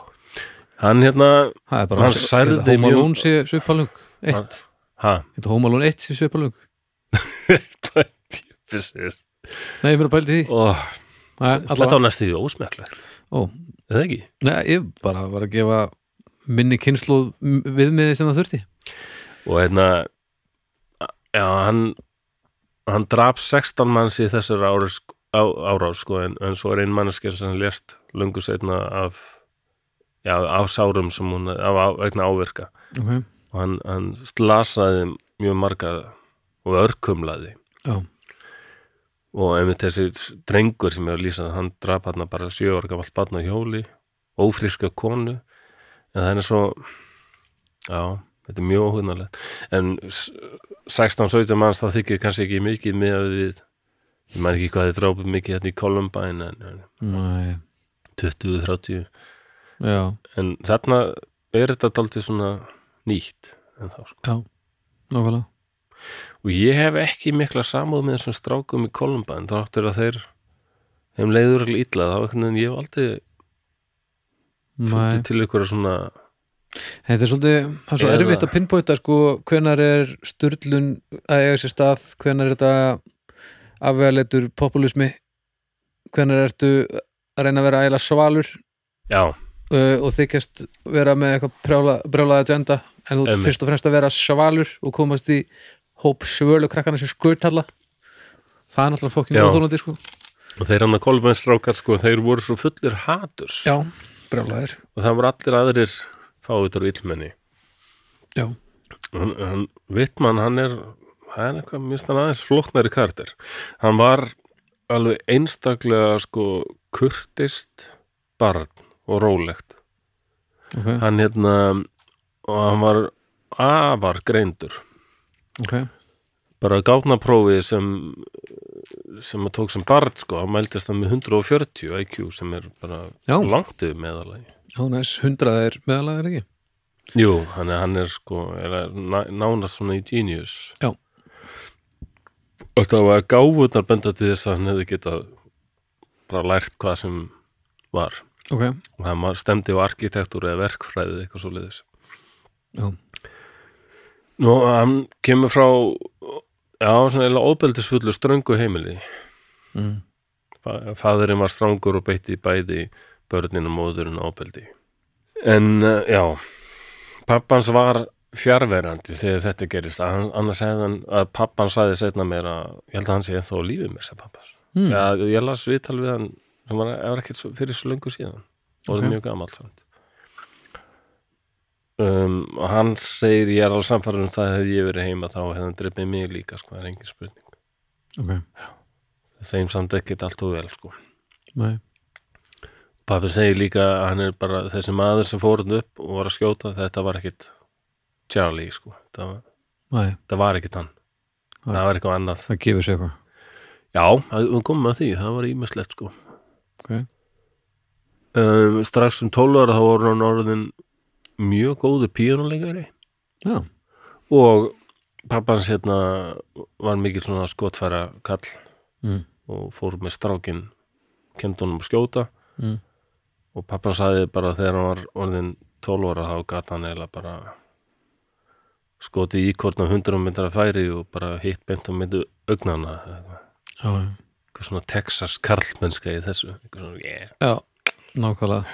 Speaker 1: hann hérna,
Speaker 2: Það er bara
Speaker 1: Hann særði
Speaker 2: Þetta Home
Speaker 1: mjög-
Speaker 2: Alone sé svipalung Eitt
Speaker 1: ha
Speaker 2: Þetta Home Alone 1 sé svipalung
Speaker 1: Precis.
Speaker 2: Nei, ég mér að bældi því
Speaker 1: og
Speaker 2: Nei,
Speaker 1: þetta
Speaker 2: allavega.
Speaker 1: var næstu því ósmekklegt
Speaker 2: Ó,
Speaker 1: eða ekki?
Speaker 2: Nei, ég bara var að gefa minni kynslu viðmiði sem það þurfti
Speaker 1: og hérna já, hann hann draf 16 manns í þessar árás á, árás sko en, en svo er ein manneskja sem lést löngu setna af já, af sárum sem hún af, af vegna áverka
Speaker 2: okay.
Speaker 1: og hann, hann slasaði mjög marga og örkumlaði
Speaker 2: Já.
Speaker 1: og einmitt þessi drengur sem ég var að lýsa hann draf hann bara sjö ára gamalt barn á hjóli ófriska konu en það er svo já, þetta er mjög óhugnarlegt en s- 16-17 manns það þykir kannski ekki mikið með við ég maður ekki hvað þið drápum mikið hérna í Columbine en, en
Speaker 2: Nei,
Speaker 1: 20-30
Speaker 2: já,
Speaker 1: en þarna er þetta daldið svona nýtt en þá sko
Speaker 2: nákvæmlega
Speaker 1: og ég hef ekki mikla samúð með þessum strákum í Columbine þá áttur að þeir þeim leiður alveg illa þá einhvern veginn ég hef aldrei
Speaker 2: Nei.
Speaker 1: fundið til ykkur svona
Speaker 2: Þetta er svolítið, það er svo
Speaker 1: Eða-
Speaker 2: erfitt að pinpointa sko, hvenar er styrlun að eiga sér stað, hvenar er þetta afvegaleitur populismi hvenar ertu að reyna að vera ægilega svalur
Speaker 1: já,
Speaker 2: uh, og þykjast vera með eitthvað brjálaða agenda en þú
Speaker 1: Einmitt.
Speaker 2: ert fyrst og fremst að vera svalur og komast í hóp svölu krakkana sem skutalla það er náttúrulega fokkin
Speaker 1: Já.
Speaker 2: óþólandi sko
Speaker 1: og þeir hann að Columbine strákar sko þeir voru svo fullir haturs
Speaker 2: Já, brjálaðir
Speaker 1: og það voru allir aðrir fáiður og illmenni
Speaker 2: Já,
Speaker 1: hann, hann, Vittmann hann er hann er eitthvað, minnst hann aðeins flóknari kardir hann var alveg einstaklega sko kurtist barn og rólegt
Speaker 2: ok,
Speaker 1: hann hérna og hann var afar greindur
Speaker 2: ok
Speaker 1: bara gátnaprófið sem sem að tók sem barn sko hann mældist það með 140 IQ sem er bara
Speaker 2: Já.
Speaker 1: langt yfir meðalagi
Speaker 2: Já, næs, hundrað er meðalega er ekki
Speaker 1: Jú, hann er, hann er sko eða ná- nánast svona í genius
Speaker 2: Já.
Speaker 1: Og það var gáfurnar benda til þess að hann hefði getað bara lært hvað sem var
Speaker 2: Ok,
Speaker 1: og hann var- stemdi á arkitektúr eða verkfræði eitthvað svo liðis
Speaker 2: já,
Speaker 1: Nú, hann kemur frá já, svona eiginlega óbeldisfullu ströngu heimili
Speaker 2: mm.
Speaker 1: Fa- Faðurinn var strangur og beitti bæði börnin og móðurinn ábeldi. En uh, já, pappans var fjarverandi þegar þetta gerist. Hann, annars hefði hann, að pappan sagði setna mér að, ég held að hann sé ennþá á lífi mér, sagði pappans.
Speaker 2: Mm.
Speaker 1: Mm. Ég, ég las viðtal við hann, sem var, var ekkit svo, fyrir svo löngu síðan. Og
Speaker 2: Ok.
Speaker 1: það er mjög gamalt samt. Um, og hann segir, ég er alveg samfærum um það hefði ég verið heima þá hefði hann dreipið mig líka, sko, það er engin spurning.
Speaker 2: ok,
Speaker 1: Þeim samt ekkit allt og vel, sko.
Speaker 2: nei
Speaker 1: Pappi segir líka að hann er bara þessi maður sem fór hann upp og var að skjóta þetta var ekkit Charlie sko þetta var,
Speaker 2: Nei,
Speaker 1: þetta var ekkit hann
Speaker 2: Nei.
Speaker 1: það var eitthvað annað
Speaker 2: það gefur sér eitthvað
Speaker 1: já, það- við komum að því, það var ímislegt sko
Speaker 2: Ok.
Speaker 1: um, strax um 12 ára þá voru hann orðin mjög góður píanuleikari
Speaker 2: Já,
Speaker 1: og pappans hérna var mikið svona skotfæra kall
Speaker 2: Mm.
Speaker 1: og fór með strákin kemd honum að skjóta
Speaker 2: Mm.
Speaker 1: og pappan sagði bara þegar hann var orðin 12 ára þá gat hann eiginlega bara skoti í íkortna 100 myndar að færi og bara hitt beint á myndu augnana eitthvað
Speaker 2: já, já,
Speaker 1: eitthvað svona Texas karlmennska í þessu eitthvað svona, yeah.
Speaker 2: já, nákvæmlega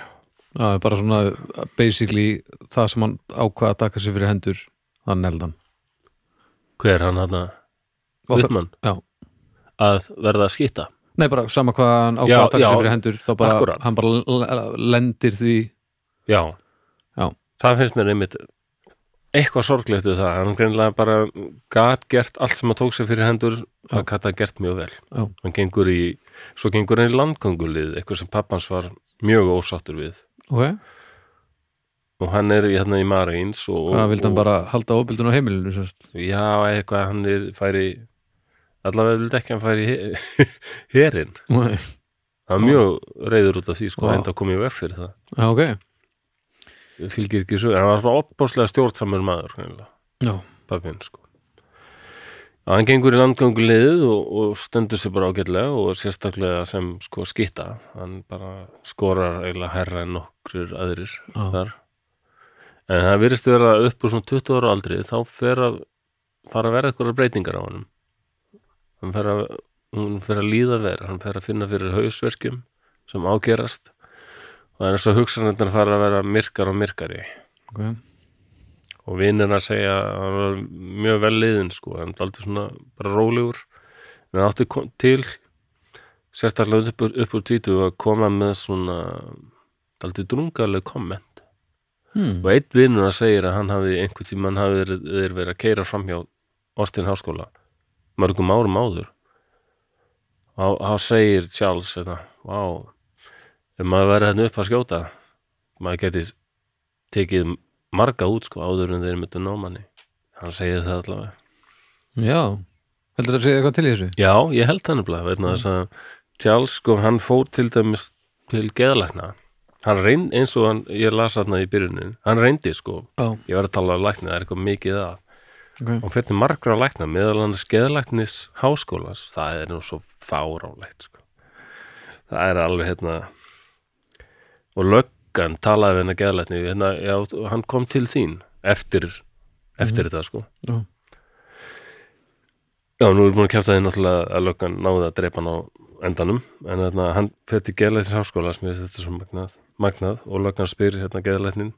Speaker 2: Já, bara svona basically það sem hann ákvað að taka sér fyrir hendur hann neldan
Speaker 1: hver er hann hann að
Speaker 2: Okkar-
Speaker 1: Vittmann
Speaker 2: já.
Speaker 1: að verða að skýta
Speaker 2: Nei, bara sama hvað hann
Speaker 1: Já,
Speaker 2: ákvað að taka
Speaker 1: já,
Speaker 2: sér fyrir hendur þá bara,
Speaker 1: akkúrat.
Speaker 2: hann bara l- l- lendir því
Speaker 1: já.
Speaker 2: Já.
Speaker 1: það finnst mér einmitt eitthvað sorglegt við það, hann greinlega bara gat gert allt sem hann tók sér fyrir hendur
Speaker 2: Já.
Speaker 1: hann gat það gert mjög vel
Speaker 2: Já.
Speaker 1: hann gengur í, svo gengur hann í landgöngulið eitthvað sem pappans var mjög ósáttur við
Speaker 2: ok,
Speaker 1: og hann er í- hérna í Marins og,
Speaker 2: hvað vildi hann
Speaker 1: og,
Speaker 2: bara halda ofbildun á heimilinu sem sagt?
Speaker 1: já, eitthvað hann er, færi allavega vildi ekki að hann færi he- herinn
Speaker 2: Nei.
Speaker 1: Það var mjög reyður út af því sko,
Speaker 2: Já.
Speaker 1: enda kom ég veg fyrir það.
Speaker 2: Já, ok,
Speaker 1: Ég Fylgir ekki sögur, hann var svona opbáslega stjórnsamur maður,
Speaker 2: Já.
Speaker 1: pappin, sko. Og hann gengur í landgöngu liðið og, og stendur sér bara ágætlega og sérstaklega sem sko skitta, hann bara skorar eiginlega herra en nokkur aðrir
Speaker 2: Já.
Speaker 1: þar. En það virðist vera upp úr svona 20 ára aldri, þá fer að fara að vera eitthvað breytingar á honum. Hann fer að, hún fer að líða verð, hann fer að finna fyrir hausverkjum sem ágerast og það er svo hugsanendan fara að vera myrkar og myrkari
Speaker 2: ok
Speaker 1: og vinnir að segja að hann var mjög vel liðin sko, hann var aldrei svona bara rólegur en hann átti ko- til sérstaklega upp, úr- upp úr tvítu að koma með svona aldrei drungaleg komment
Speaker 2: hmm.
Speaker 1: og einn vinnur að segja að hann hafi einhvern tímann hafi verið- þeir verið að keira framhjá Austin Háskóla mörgum árum áður og hann segir Charles þetta, vá ef maður verið hérna upp að skjóta maður geti tekið marga út sko áður en þeir myndu ná manni hann segir það allavega
Speaker 2: Já, heldur það að segja eitthvað til í þessu?
Speaker 1: já, ég held það nefnilega vegna þess að Charles sko hann fór til dæmis til geðalækna hann reynd eins og hann, ég las þarna í byrjunin hann reyndi sko,
Speaker 2: Já,
Speaker 1: ég var að tala af lækni það er eitthvað mikið að
Speaker 2: ok
Speaker 1: hann fyrir til margra lækna meðal hann skeðalæknis háskólas það er nú svo fáránlegt sko. það er alveg hérna og löggan talaði við hennar geðalækni hérna, já, og hann kom til þín eftir, eftir þetta sko
Speaker 2: Já.
Speaker 1: já, nú er búin að kæfta því náttúrulega að löggan náði að dreipa hann á endanum en hérna, hann fyrir til geðalæknis háskólas mér finnst þetta svo magnað, magnað og löggan spyr hérna geðalæknin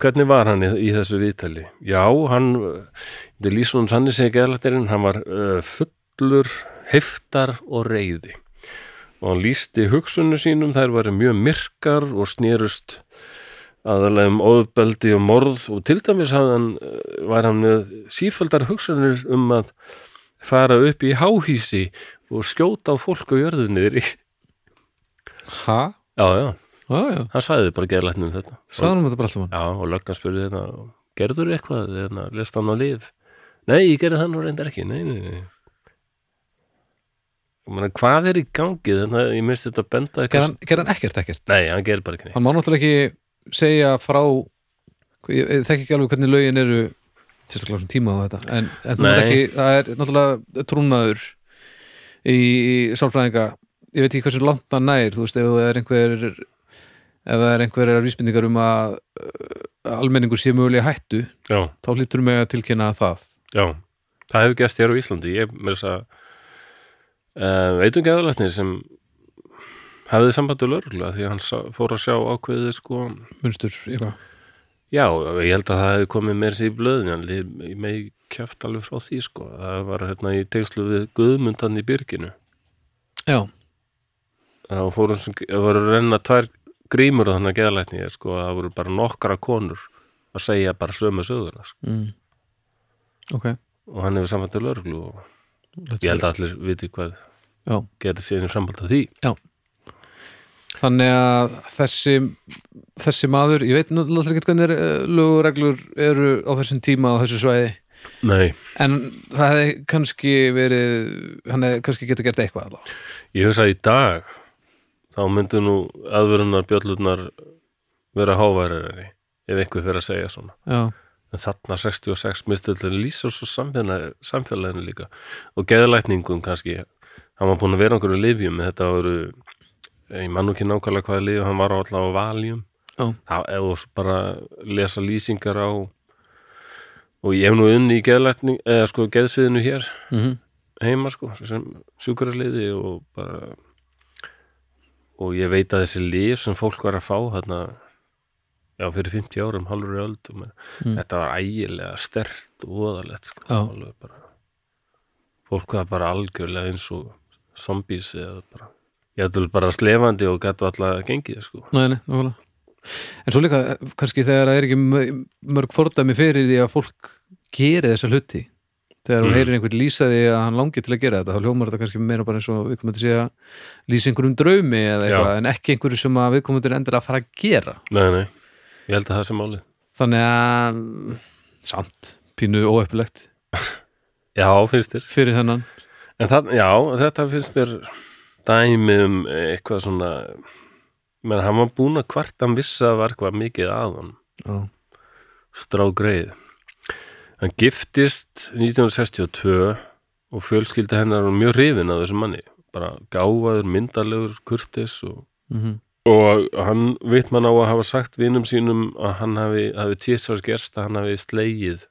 Speaker 1: hvernig var hann í, í þessu viðtali? Já, hann þetta er lýsum sannir segja geðlættirinn hann var uh, fullur heftar og reyði og hann lýsti hugsunum sínum þær varu mjög myrkar og snerust aðalega um óðbeldi og morð og til dæmis hafði hann, uh, var hann með sífældar hugsunir um að fara upp í háhýsi og skjóta á fólk á jörðunir já,
Speaker 2: Ha?
Speaker 1: já,
Speaker 2: Já, já,
Speaker 1: hann sagði bara geðlættinum þetta
Speaker 2: sagðanum þetta bara alltaf hann
Speaker 1: Já, og löggan spurði hérna, gerður eitthvað, hérna, lest hann á líf? Nei, ég gerði það nú reyndar ekki, nei, nei, nei. Ég meina, hvað er í gangi, þannig að ég minnst þetta benda
Speaker 2: Gerði hann, gerði hann ekkert ekkert?
Speaker 1: Nei, hann gerir bara ekki neitt.
Speaker 2: Hann má náttúrulega ekki segja frá ég, ég þekki ekki alveg hvernig lögin eru sérstaklega svona tíma á þetta en, en það, er
Speaker 1: Nei.
Speaker 2: ekki, það er náttúrulega trúnaður í, í sálfræðinga ég veit ekki hversu langt hann nær þú veist ef það er einhver ef það er einhverjar vísbendingar um að uh, almenningur sé mögulega í hættu
Speaker 1: Já,
Speaker 2: þá hlýtur mig að tilkynna það
Speaker 1: já, það hefur gerst hér á Íslandi, ég mér þess að uh, veitum geðalæknir sem hafði sambandi lögreglega því að hann sá, fór að sjá ákveðið sko,
Speaker 2: munstur eitthvað
Speaker 1: já, ég held að það hefði komið meir sér í blöðin, hann lið- ég megi kjæft alveg frá því sko, það var hérna í tegslu við Guðmundan í Byrginu
Speaker 2: já,
Speaker 1: það fóru, það voru að renna tvær grímur á þannig að geðalætni sko, það voru bara nokkra konur að segja bara sömu söguna sko.
Speaker 2: mm. ok
Speaker 1: og hann hefur samvænt til örglu og ég held að allir viti hvað
Speaker 2: Já.
Speaker 1: geti síðan í framhald á því
Speaker 2: Þannig að þessi, þessi maður, ég veit náttúrulega ekki hvernig er, eh, lögureglur eru á þessum tíma á þessu svæði
Speaker 1: Nei,
Speaker 2: en það hefði kannski verið, hann hefði kannski getað gert eitthvað allavega.
Speaker 1: ég hugsa að í dag þá myndu nú aðvörunar bjöllurnar vera háværiðari ef einhver fyrir að segja svona
Speaker 2: Já,
Speaker 1: en þarna 66 mistöldin lýsar svo samfélaginu, samfélaginu líka og geðlækningum kannski hann var búin að vera einhverju lifjum þetta voru, ég man nú ekki nákvæmlega hvaða lifjum hann var á allavega á valjum
Speaker 2: Já.
Speaker 1: eða svo bara lesa lýsingar á og ég hef nú unni í geðlækning eða sko geðsviðinu hér
Speaker 2: mm
Speaker 1: heima sko sem sjúkrarliði og bara og ég veit að þessi líf sem fólk var að fá þarna já fyrir 50 árum, halvur í öld og
Speaker 2: Mm.
Speaker 1: þetta var ægilega stert og oðalegt sko
Speaker 2: Já.
Speaker 1: alveg bara fólk var bara algjörlega eins og zombies eða bara ég ætlum bara slefandi og gætu alltaf gengið sko.
Speaker 2: Nei, nei, nákvæmlega. En svo líka, eh, kannski þegar það er ekki mö- mörg fordæmi fyrir því að fólk geri þessa hluti. Þegar hún
Speaker 1: Mm.
Speaker 2: heyrir einhvern lýsa því að hann langi til að gera þetta, þá hljómar þetta kannski meira bara eins og viðkomandi sé að lýsa einhverjum draumi eða
Speaker 1: Já.
Speaker 2: eitthvað, en ekki einhverju sem að viðkomandi er endur að fara að gera.
Speaker 1: nei, nei, ég held að það sem málið
Speaker 2: Þannig að, mm, samt, pínu óöppilegt
Speaker 1: já, finnst þér
Speaker 2: fyrir þennan.
Speaker 1: En það, já, þetta finnst mér dæmi um eitthvað svona menn hann var búin að hvart hann vissi að var eitthvað mikið að hann
Speaker 2: Já.
Speaker 1: strágreið hann giftist 1962 og fjölskyldi hennar var mjög hrifin að þessum manni bara gáfaður, myndarlegur, kurtis og,
Speaker 2: Mm
Speaker 1: og hann vitt mann á að hafa sagt vinum sínum að hann hafi, hafi tísar gerst að hann hafi slegið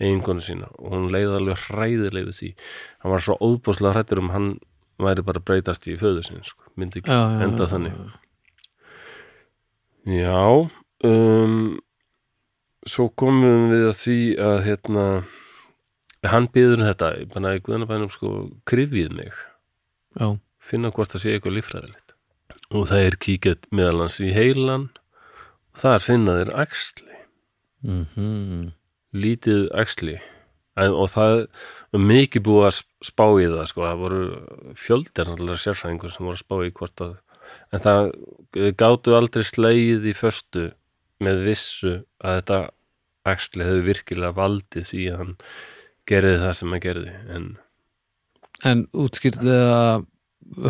Speaker 1: eiginkonu sína og hún leiði alveg hræðileg við því hann var svo óbúslega hrættur um hann væri bara að breytast í föður sinni sko. myndi
Speaker 2: Já,
Speaker 1: ekki
Speaker 2: já, já,
Speaker 1: enda
Speaker 2: já,
Speaker 1: þannig Já um, Svo komum við að því að hérna hann býður um þetta, ég bara í guðanabænum sko krifjið mig,
Speaker 2: Já,
Speaker 1: finna hvort það sé eitthvað líffræðilegt og það er kíkjað meðal hans í heilan og þar finna þeir axli
Speaker 2: mm
Speaker 1: lítið axli en, og það er mikið búið að spá í það sko, það voru fjöldir allar sérfræðingur sem voru að spá í hvort að en það þeir gátu aldrei slegið í förstu með vissu að þetta axli hefur virkilega valdið því að hann gerði það sem hann gerði en
Speaker 2: en útskýrði það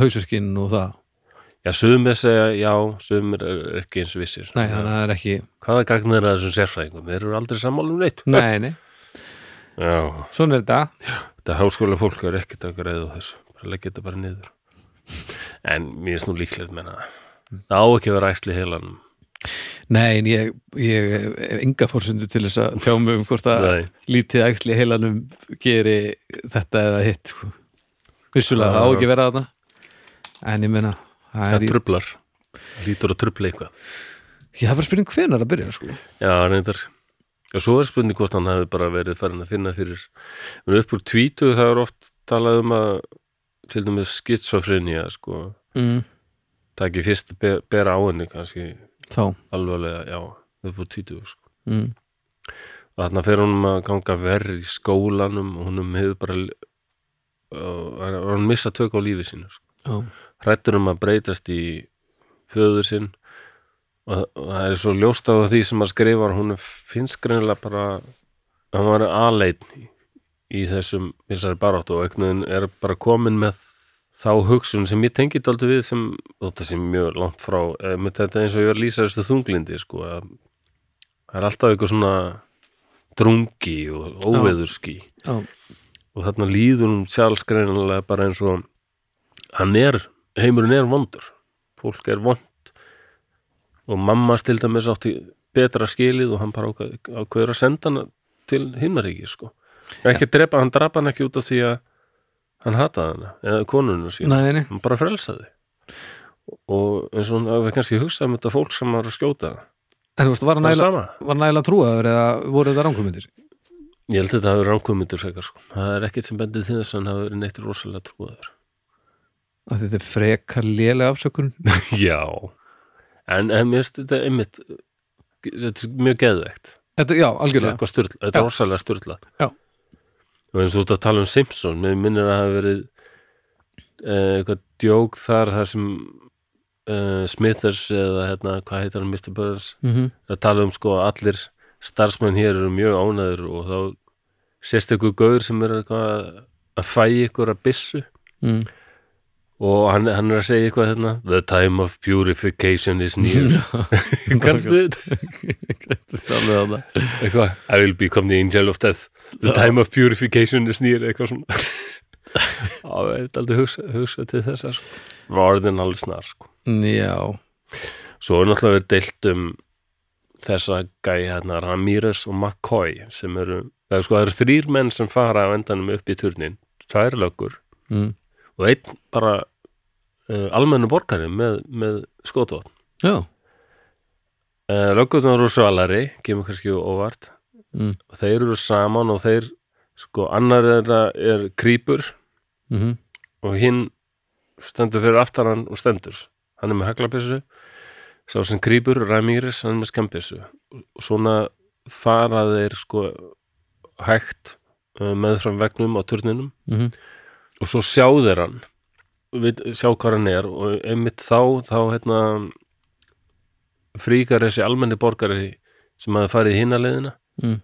Speaker 2: hausverkinn og það.
Speaker 1: já, sumir segja já, sumir er ekki eins og vissir
Speaker 2: Nei, þannig að það er ekki,
Speaker 1: hvaða gagnir að þessum sérfræðingum, þeir eru aldrei sammálum neitt
Speaker 2: nei, nei,
Speaker 1: já,
Speaker 2: svona er þetta.
Speaker 1: þetta háskóla fólk er ekkert að greiða á þessu bara leggja þetta bara niður en mér finnst nú líklegt menna það á ekki að vera æsli heilanum
Speaker 2: Nei, en ég, ég hef enga fórsundu til þess að tjá mig um hvort að
Speaker 1: Nei.
Speaker 2: lítið æxli í heilanum geri þetta eða hitt sko. Vissulega,
Speaker 1: Já,
Speaker 2: það á
Speaker 1: já.
Speaker 2: ekki að vera þarna En ég meina, það er
Speaker 1: það
Speaker 2: í,
Speaker 1: trublar, lítur að trubla eitthvað
Speaker 2: ég það var spurning hvenær að byrja sko.
Speaker 1: já, reyndar og svo er spurning hvort hann hefði bara verið farin að finna fyrir en upp úr tvítu það er oft talað um að til dæmis skitsofrinja sko,
Speaker 2: mm.
Speaker 1: það ekki fyrst að be- bera á henni kannski
Speaker 2: Þá
Speaker 1: alvarlega, já, upp úr tvítu sko
Speaker 2: mm.
Speaker 1: Þannig að fyrir honum að ganga verri í skólanum og honum hefur bara eh, og hann missa tök á lífi sínu sko.
Speaker 2: Já,
Speaker 1: hrættur um að breytast í föður sinn og, og það er svo ljóst á því sem að skrifar hún finnst greinilega bara hann var aðleit í, í þessum þessari baráttu og eignuðin er bara komin með þá hugsun sem ég tengið aldrei við sem þetta sem mjög langt frá eh, með þetta eins og ég var að lýsa þessu þunglindi sko að það er alltaf eitthvað svona drungi og óveðurski
Speaker 2: já,
Speaker 1: og þarna líður hún sjálfsgreinilega bara eins og hann er, heimurinn er vondur fólk er vond og mamma stilda með sátti betra skilið og hann bara ákvað- ákveður að senda hann til himnaríki sko. ekki drepa, hann drapa hann ekki út af því að hann hataði hana eða konuna sína,
Speaker 2: nei, nei
Speaker 1: hann bara frelsaði og eins og hann hafi kannski hugsað um þetta fólk sem var að skjóta það.
Speaker 2: En þú veist, var
Speaker 1: það er
Speaker 2: næla,
Speaker 1: sama
Speaker 2: var næla trúaður eða voru þetta ránkvömyndir?
Speaker 1: Ég held að þetta hafi ránkvömyndur frekar sko. Það er ekkert sem bendið til þess að hann hafi verið neitt rosalega trúaður.
Speaker 2: Að þetta er frekar lélega afsökun
Speaker 1: Já. En, en mér finnst þetta einmitt þetta er mjög geðveikt.
Speaker 2: Þetta, já,
Speaker 1: Þetta er
Speaker 2: algjörlega
Speaker 1: eitthvað styrla. Þetta er
Speaker 2: Já.
Speaker 1: rosalega styrla.
Speaker 2: Já.
Speaker 1: Og eins og þetta tala um Simpson, mér minnir að hafi verið eh, eitthvað djók þar þar sem eh, Smithers eða hérna, hvað heitir hann Mr. Burns
Speaker 2: mm
Speaker 1: að tala um sko að allir starfsmenn hér eru mjög ánæður og þá sérst eitthvað gauður sem er eitthvað að- að fæ ykkur að byssu
Speaker 2: mm.
Speaker 1: og hann, hann er að segja eitthvað hérna The time of purification is near Kannstu þetta? Það með þarna Eitthvað I will become the angel of death The time of purification is near Eitthvað svona Já, það er aldrei hugsa, hugsa til þess að sko Varðin alveg snar sko
Speaker 2: Mm, Já,
Speaker 1: Svo er náttúrulega verið deilt um þessa gæi hérna Ramírez og McCoy sem eru, það er sko, það eru þrýr menn sem fara á endanum upp í turnin tvær löggur
Speaker 2: mm.
Speaker 1: og einn bara uh, almennu borgari með, með skotvot
Speaker 2: já
Speaker 1: uh, löggurnar eru svalari, kemur kannski óvart
Speaker 2: Mm.
Speaker 1: og þeir eru saman og þeir, sko, annar þeirra er krýpur
Speaker 2: mm
Speaker 1: og hinn stendur fyrir aftar hann og stendur hann er með haglabissu sá sem krýpur, Ramírez, hann er með skambissu og svona fara þeir sko hægt uh, meðfram vegnum á turninum
Speaker 2: Mhm.
Speaker 1: og svo sjá þeir hann við, sjá hvað hann er og einmitt þá, þá hérna fríkar þessi almenni borgari sem hafði farið hinn að leiðina
Speaker 2: Mm.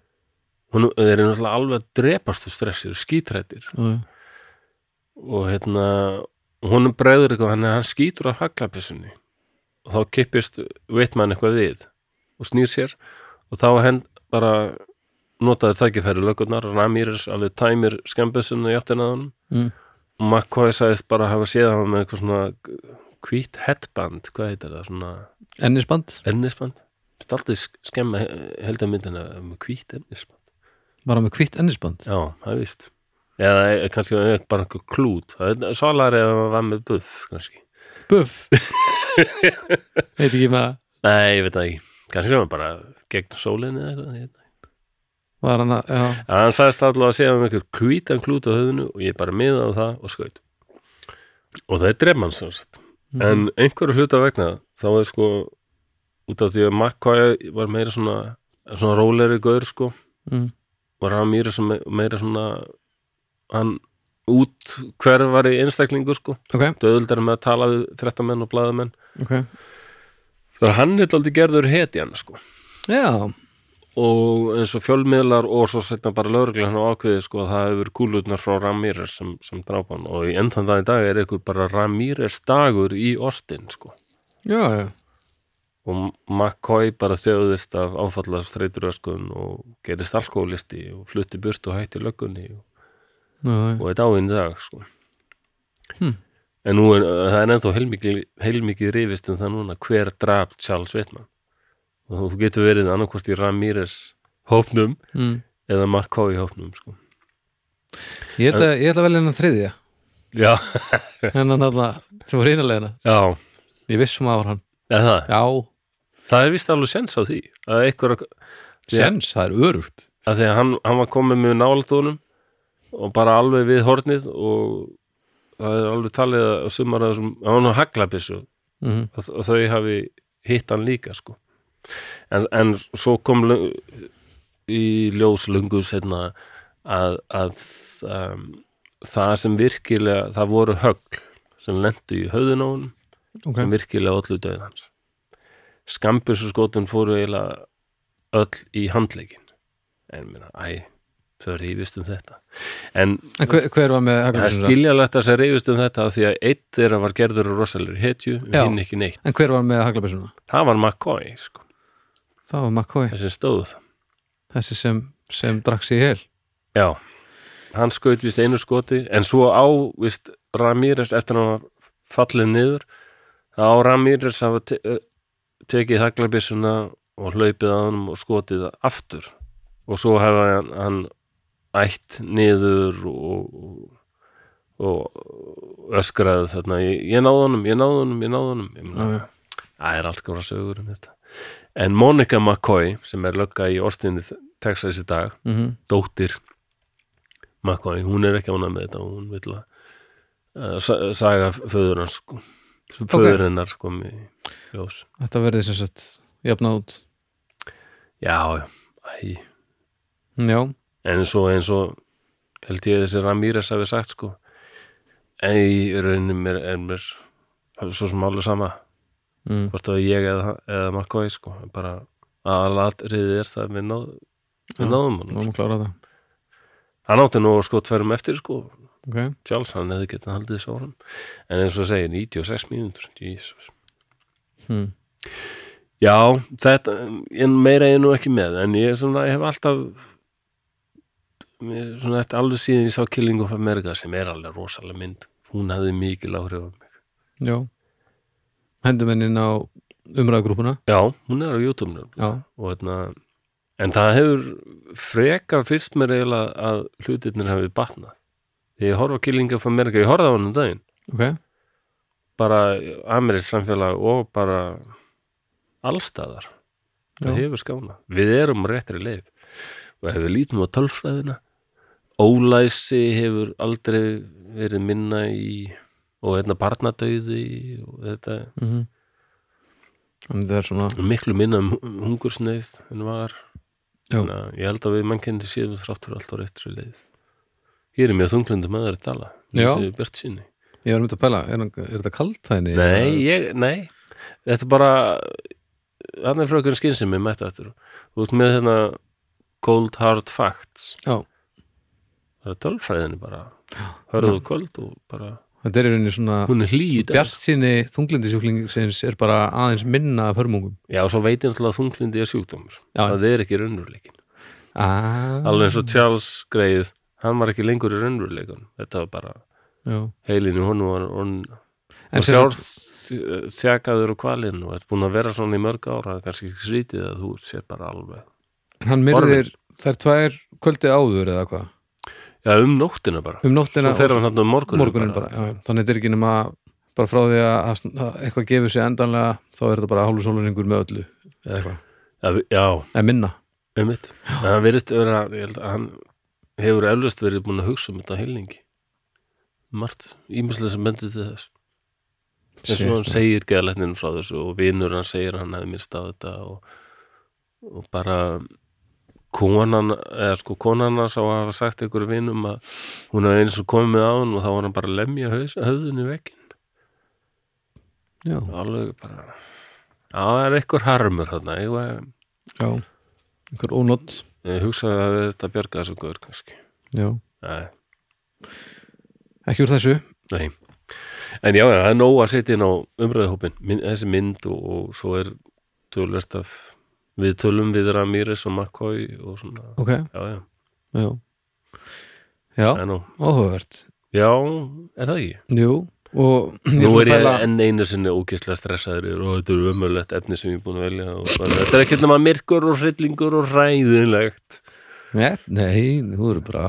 Speaker 1: Hún, þeir eru náttúrulega alveg að drepastu stressir, skítrættir
Speaker 2: Já, já.
Speaker 1: og hérna honum bregður eitthvað hann, hann skýtur af haglabissunni og þá kippist Whitman eitthvað við og snýr sér og þá hend bara notaði þakkifæri lögurnar, Ramírez alveg tæmir skambussunni í áttina að honum
Speaker 2: Mm.
Speaker 1: og McCoy sagðist bara að hafa séð hann með eitthvað svona hvít headband, hvað heitir það, svona
Speaker 2: Ennisband,
Speaker 1: ennisband startið skemma heldamyndina með hvít ennisband
Speaker 2: var hann með hvitt ennisband
Speaker 1: Já, það er víst eða e- kannski e- bara einhver klút það er svalari ef maður var með buff kannski.
Speaker 2: Buff Veit ekki með það
Speaker 1: Nei, ég veit það ekki kannski var hann bara gegn sólinni eða eitthvað ég veit það ekki.
Speaker 2: Var hann að, já,
Speaker 1: En hann sagðist allavega að segja um einhver hvítan klút á höfðinu og ég bara miða á það og skaut og það er drefmann sem sagt
Speaker 2: mm, Mhm.
Speaker 1: en einhverju hluta vegna þá er sko út af því að McCoy var meira svona svona róleri gaur sko
Speaker 2: mm.
Speaker 1: var hann meira, sem, meira svona hann út hverfari einstaklingur sko
Speaker 2: ok,
Speaker 1: döðuldar með að tala við frettamenn og blaðamenn
Speaker 2: ok
Speaker 1: þannig að hann er aldrei gerður hetjan sko
Speaker 2: Já,
Speaker 1: og eins og fjölmiðlar og svo setna bara lögreglega hann á ákveði sko að það hefur kúlutnar frá Ramírez sem, sem dráp hann og í endan það í dag er einhver bara Ramírez dagur í Austin sko
Speaker 2: já, já
Speaker 1: og McCoy bara þjóðist af áfallað streyturöskun og gerist alkoholisti og flutti burt og hætti löggunni og
Speaker 2: Já, já.
Speaker 1: og er dáinn í dag sko.
Speaker 2: Hmm.
Speaker 1: en nú er, það er ennþá heilmikið, heilmikið rifist um það núna hver draf Charles Whitman og þú getur verið annarkvort í Ramírez hópnum
Speaker 2: Mm.
Speaker 1: eða McCoy hópnum sko.
Speaker 2: Ég ætla, ég ætla að velja hennan þriðja
Speaker 1: já,
Speaker 2: Hennan alltaf, sem voru einalegina
Speaker 1: já
Speaker 2: Ég vissum að það var hann
Speaker 1: eða, það.
Speaker 2: Já,
Speaker 1: það er vist alveg sens á því að einhver
Speaker 2: sens, það er örugt
Speaker 1: að því að hann, hann var komið með nálatónum og bara alveg við hornið og það er alveg talið að sumar að þessum, hann var nú haglabissu
Speaker 2: mm -hmm.
Speaker 1: að að þau hafi hitt hann líka sko. en, en svo kom lö- í ljós lungu setna að, að um, það sem virkilega það voru högl sem lendu í höfðun á hann
Speaker 2: Ok,
Speaker 1: sem virkilega öllu döið hans skambjörnskotun fóru eiginlega öll í handleikin en minna, æ, þau rífist um þetta en
Speaker 2: en hver, hver var með
Speaker 1: það er
Speaker 2: haglabyssu?
Speaker 1: skiljalegt að það rífist um þetta af því að eitt þeirra var gerður og rosalur hetju,
Speaker 2: Já.
Speaker 1: hinn ekki neitt
Speaker 2: En hver var með haglabessuna?
Speaker 1: það var McCoy sko,
Speaker 2: Það var McCoy,
Speaker 1: þessi stóð það.
Speaker 2: þessi sem, sem drakk sig í hel
Speaker 1: já, hann skaut vist einu skoti en svo á vist Ramírez eftir að hann var fallið niður þá á Ramírez hafa te eh, tekið haglabissuna og hlaupið að honum og skotið aftur og svo hefði hann, hann ætt niður og, og, og öskraði þarna ég, ég náði honum, ég náði honum, ég náði honum ég meina,
Speaker 2: Já, já.
Speaker 1: Það er alls góra sögur um þetta. En Monica McCoy, sem er lögga í Austin í Texas í dag,
Speaker 2: Mm
Speaker 1: dóttir McCoy, hún er ekki ánað með þetta, hún vil að uh, sa- saga föður hans, sko. Föður hennar kom í ljós.
Speaker 2: Þetta verði sem sagt jafna út
Speaker 1: Já, já, æ.
Speaker 2: Já,
Speaker 1: En svo eins og held ég þessi Ramírez hafi sagt, sko, ei, raunum er, er mér svo sem alveg sama,
Speaker 2: mm.
Speaker 1: hvort að ég eða, eða McCoy, sko, bara aðalatriðið er það að við, náð, við
Speaker 2: Já.
Speaker 1: náðum hann.
Speaker 2: nú erum að klára það
Speaker 1: hann átti nú sko tverum eftir sko
Speaker 2: Ok,
Speaker 1: Charles hann hefði getað haldið þessu árum en eins og segir 96 mínútur Jesus.
Speaker 2: hmm.
Speaker 1: Mm. já, þetta en meira er ég nú ekki með en ég, er svona, ég hef alltaf mér, svona eftir alveg síðan ég sá Killing of America sem er alveg rosalega mynd hún hafði mikil áhrif á mig
Speaker 2: já Hendum henni inn á umræðgrúpuna
Speaker 1: já, hún er á YouTube nú
Speaker 2: Já,
Speaker 1: og hérna en það hefur frekar fyrst mér eiginlega að hlutirnir hafið batnað þegar ég horfa á Killing of America ég horfði á hann um daginn
Speaker 2: ok,
Speaker 1: bara amerísk samfélag og bara allstaðar
Speaker 2: Já.
Speaker 1: það hefur skána við erum á réttri leið og ef við lítum á tölfræðina ólæsi hefur aldrei verið minna í og hérna barnadauði og þetta
Speaker 2: mm -hmm. það er svona
Speaker 1: miklu minna um hu- hungursneyð en var
Speaker 2: Já.
Speaker 1: Þannig að ég held að við mannkindi séum þráttur allt á réttri leið ég er mjög þunglundum með þeirri tala
Speaker 2: Já.
Speaker 1: þessi bjart sinni
Speaker 2: ég var um að pæla, er, hann- er þetta kalt hæðinni?
Speaker 1: Nei, ég, nei Þetta er bara Þannig er frökun skinn sem ég mætti eftir Þú ert með hérna cold hard facts
Speaker 2: Já.
Speaker 1: Það er tölfræðinni bara Hörðu og kold og bara
Speaker 2: þetta er í rauninni svona
Speaker 1: Hún er hlýð
Speaker 2: bjart sinni þunglindisjúklingsins er bara aðeins minna af hörmungum
Speaker 1: Já, svo veit ég náttúrulega að þunglindi er sjúkdómur
Speaker 2: Já.
Speaker 1: Það er ekki raunveruleikin
Speaker 2: ah,
Speaker 1: Alveg eins og Charles greið Hann var ekki lengur í raunveruleikun Þetta var bara
Speaker 2: já.
Speaker 1: heilinu honum var on,
Speaker 2: En
Speaker 1: og
Speaker 2: sem
Speaker 1: sjálf þjakaður og kvalinn og þetta er búin að vera svona í mörg ára kannski ekki skrítið að þú sér bara alveg
Speaker 2: hann myrðir þær tvær kvöldið áður eða hvað
Speaker 1: Já, um nóttina bara.
Speaker 2: um nóttina
Speaker 1: Svo fer hann hann um morgunin,
Speaker 2: morgunin bara, já, já. þannig þetta er ekki nema bara frá því að, að sn- að eitthvað gefur sig endanlega þá er þetta bara hálfu sóluningur með öllu eða eitthvað,
Speaker 1: Já, vi- Já,
Speaker 2: eða minna
Speaker 1: um mitt. Það verðist vera, ég held að hann hefur eflaust verið búin að hugsa um þetta heilingi. Margt, ímislega sem bendir til þess. Þess
Speaker 2: Shit,
Speaker 1: að
Speaker 2: man.
Speaker 1: hann segir geðalætnin frá þessu og vinur hann segir hann hefði minnst á þetta og, og bara konan, eða sko konan hans á að hafa sagt einhverju vinum að hún hefði eins og komið á hann og þá var hann bara að lemja haus, höfðinu vekkin.
Speaker 2: já,
Speaker 1: Alveg bara, já, það er einhver harmur þarna, ég var
Speaker 2: já, einhver ónott
Speaker 1: Ég hugsaði að þetta bjargaði svo góður kannski.
Speaker 2: já,
Speaker 1: Nei.
Speaker 2: ekki úr þessu
Speaker 1: Nei. En já, já, það er nóg að setja inn á umræðuhópin. Mynd, þessi mynd og, og svo er tölvist af við tölum við Ramírez og McCoy og svona.
Speaker 2: ok,
Speaker 1: Já, já.
Speaker 2: já já,
Speaker 1: Það er nóg.
Speaker 2: áhugavert
Speaker 1: Já, er það ekki?
Speaker 2: jú, og ég
Speaker 1: Nú
Speaker 2: fór
Speaker 1: er
Speaker 2: að
Speaker 1: ég
Speaker 2: pæla-
Speaker 1: enn einu sinni ógeðslega stressaður yfir og þetta eru ömurlegt efni sem ég er búin að velja og bara, þetta er ekkert nema myrkur og hryllingur og ræðilegt.
Speaker 2: Nei, nei, þú eru bara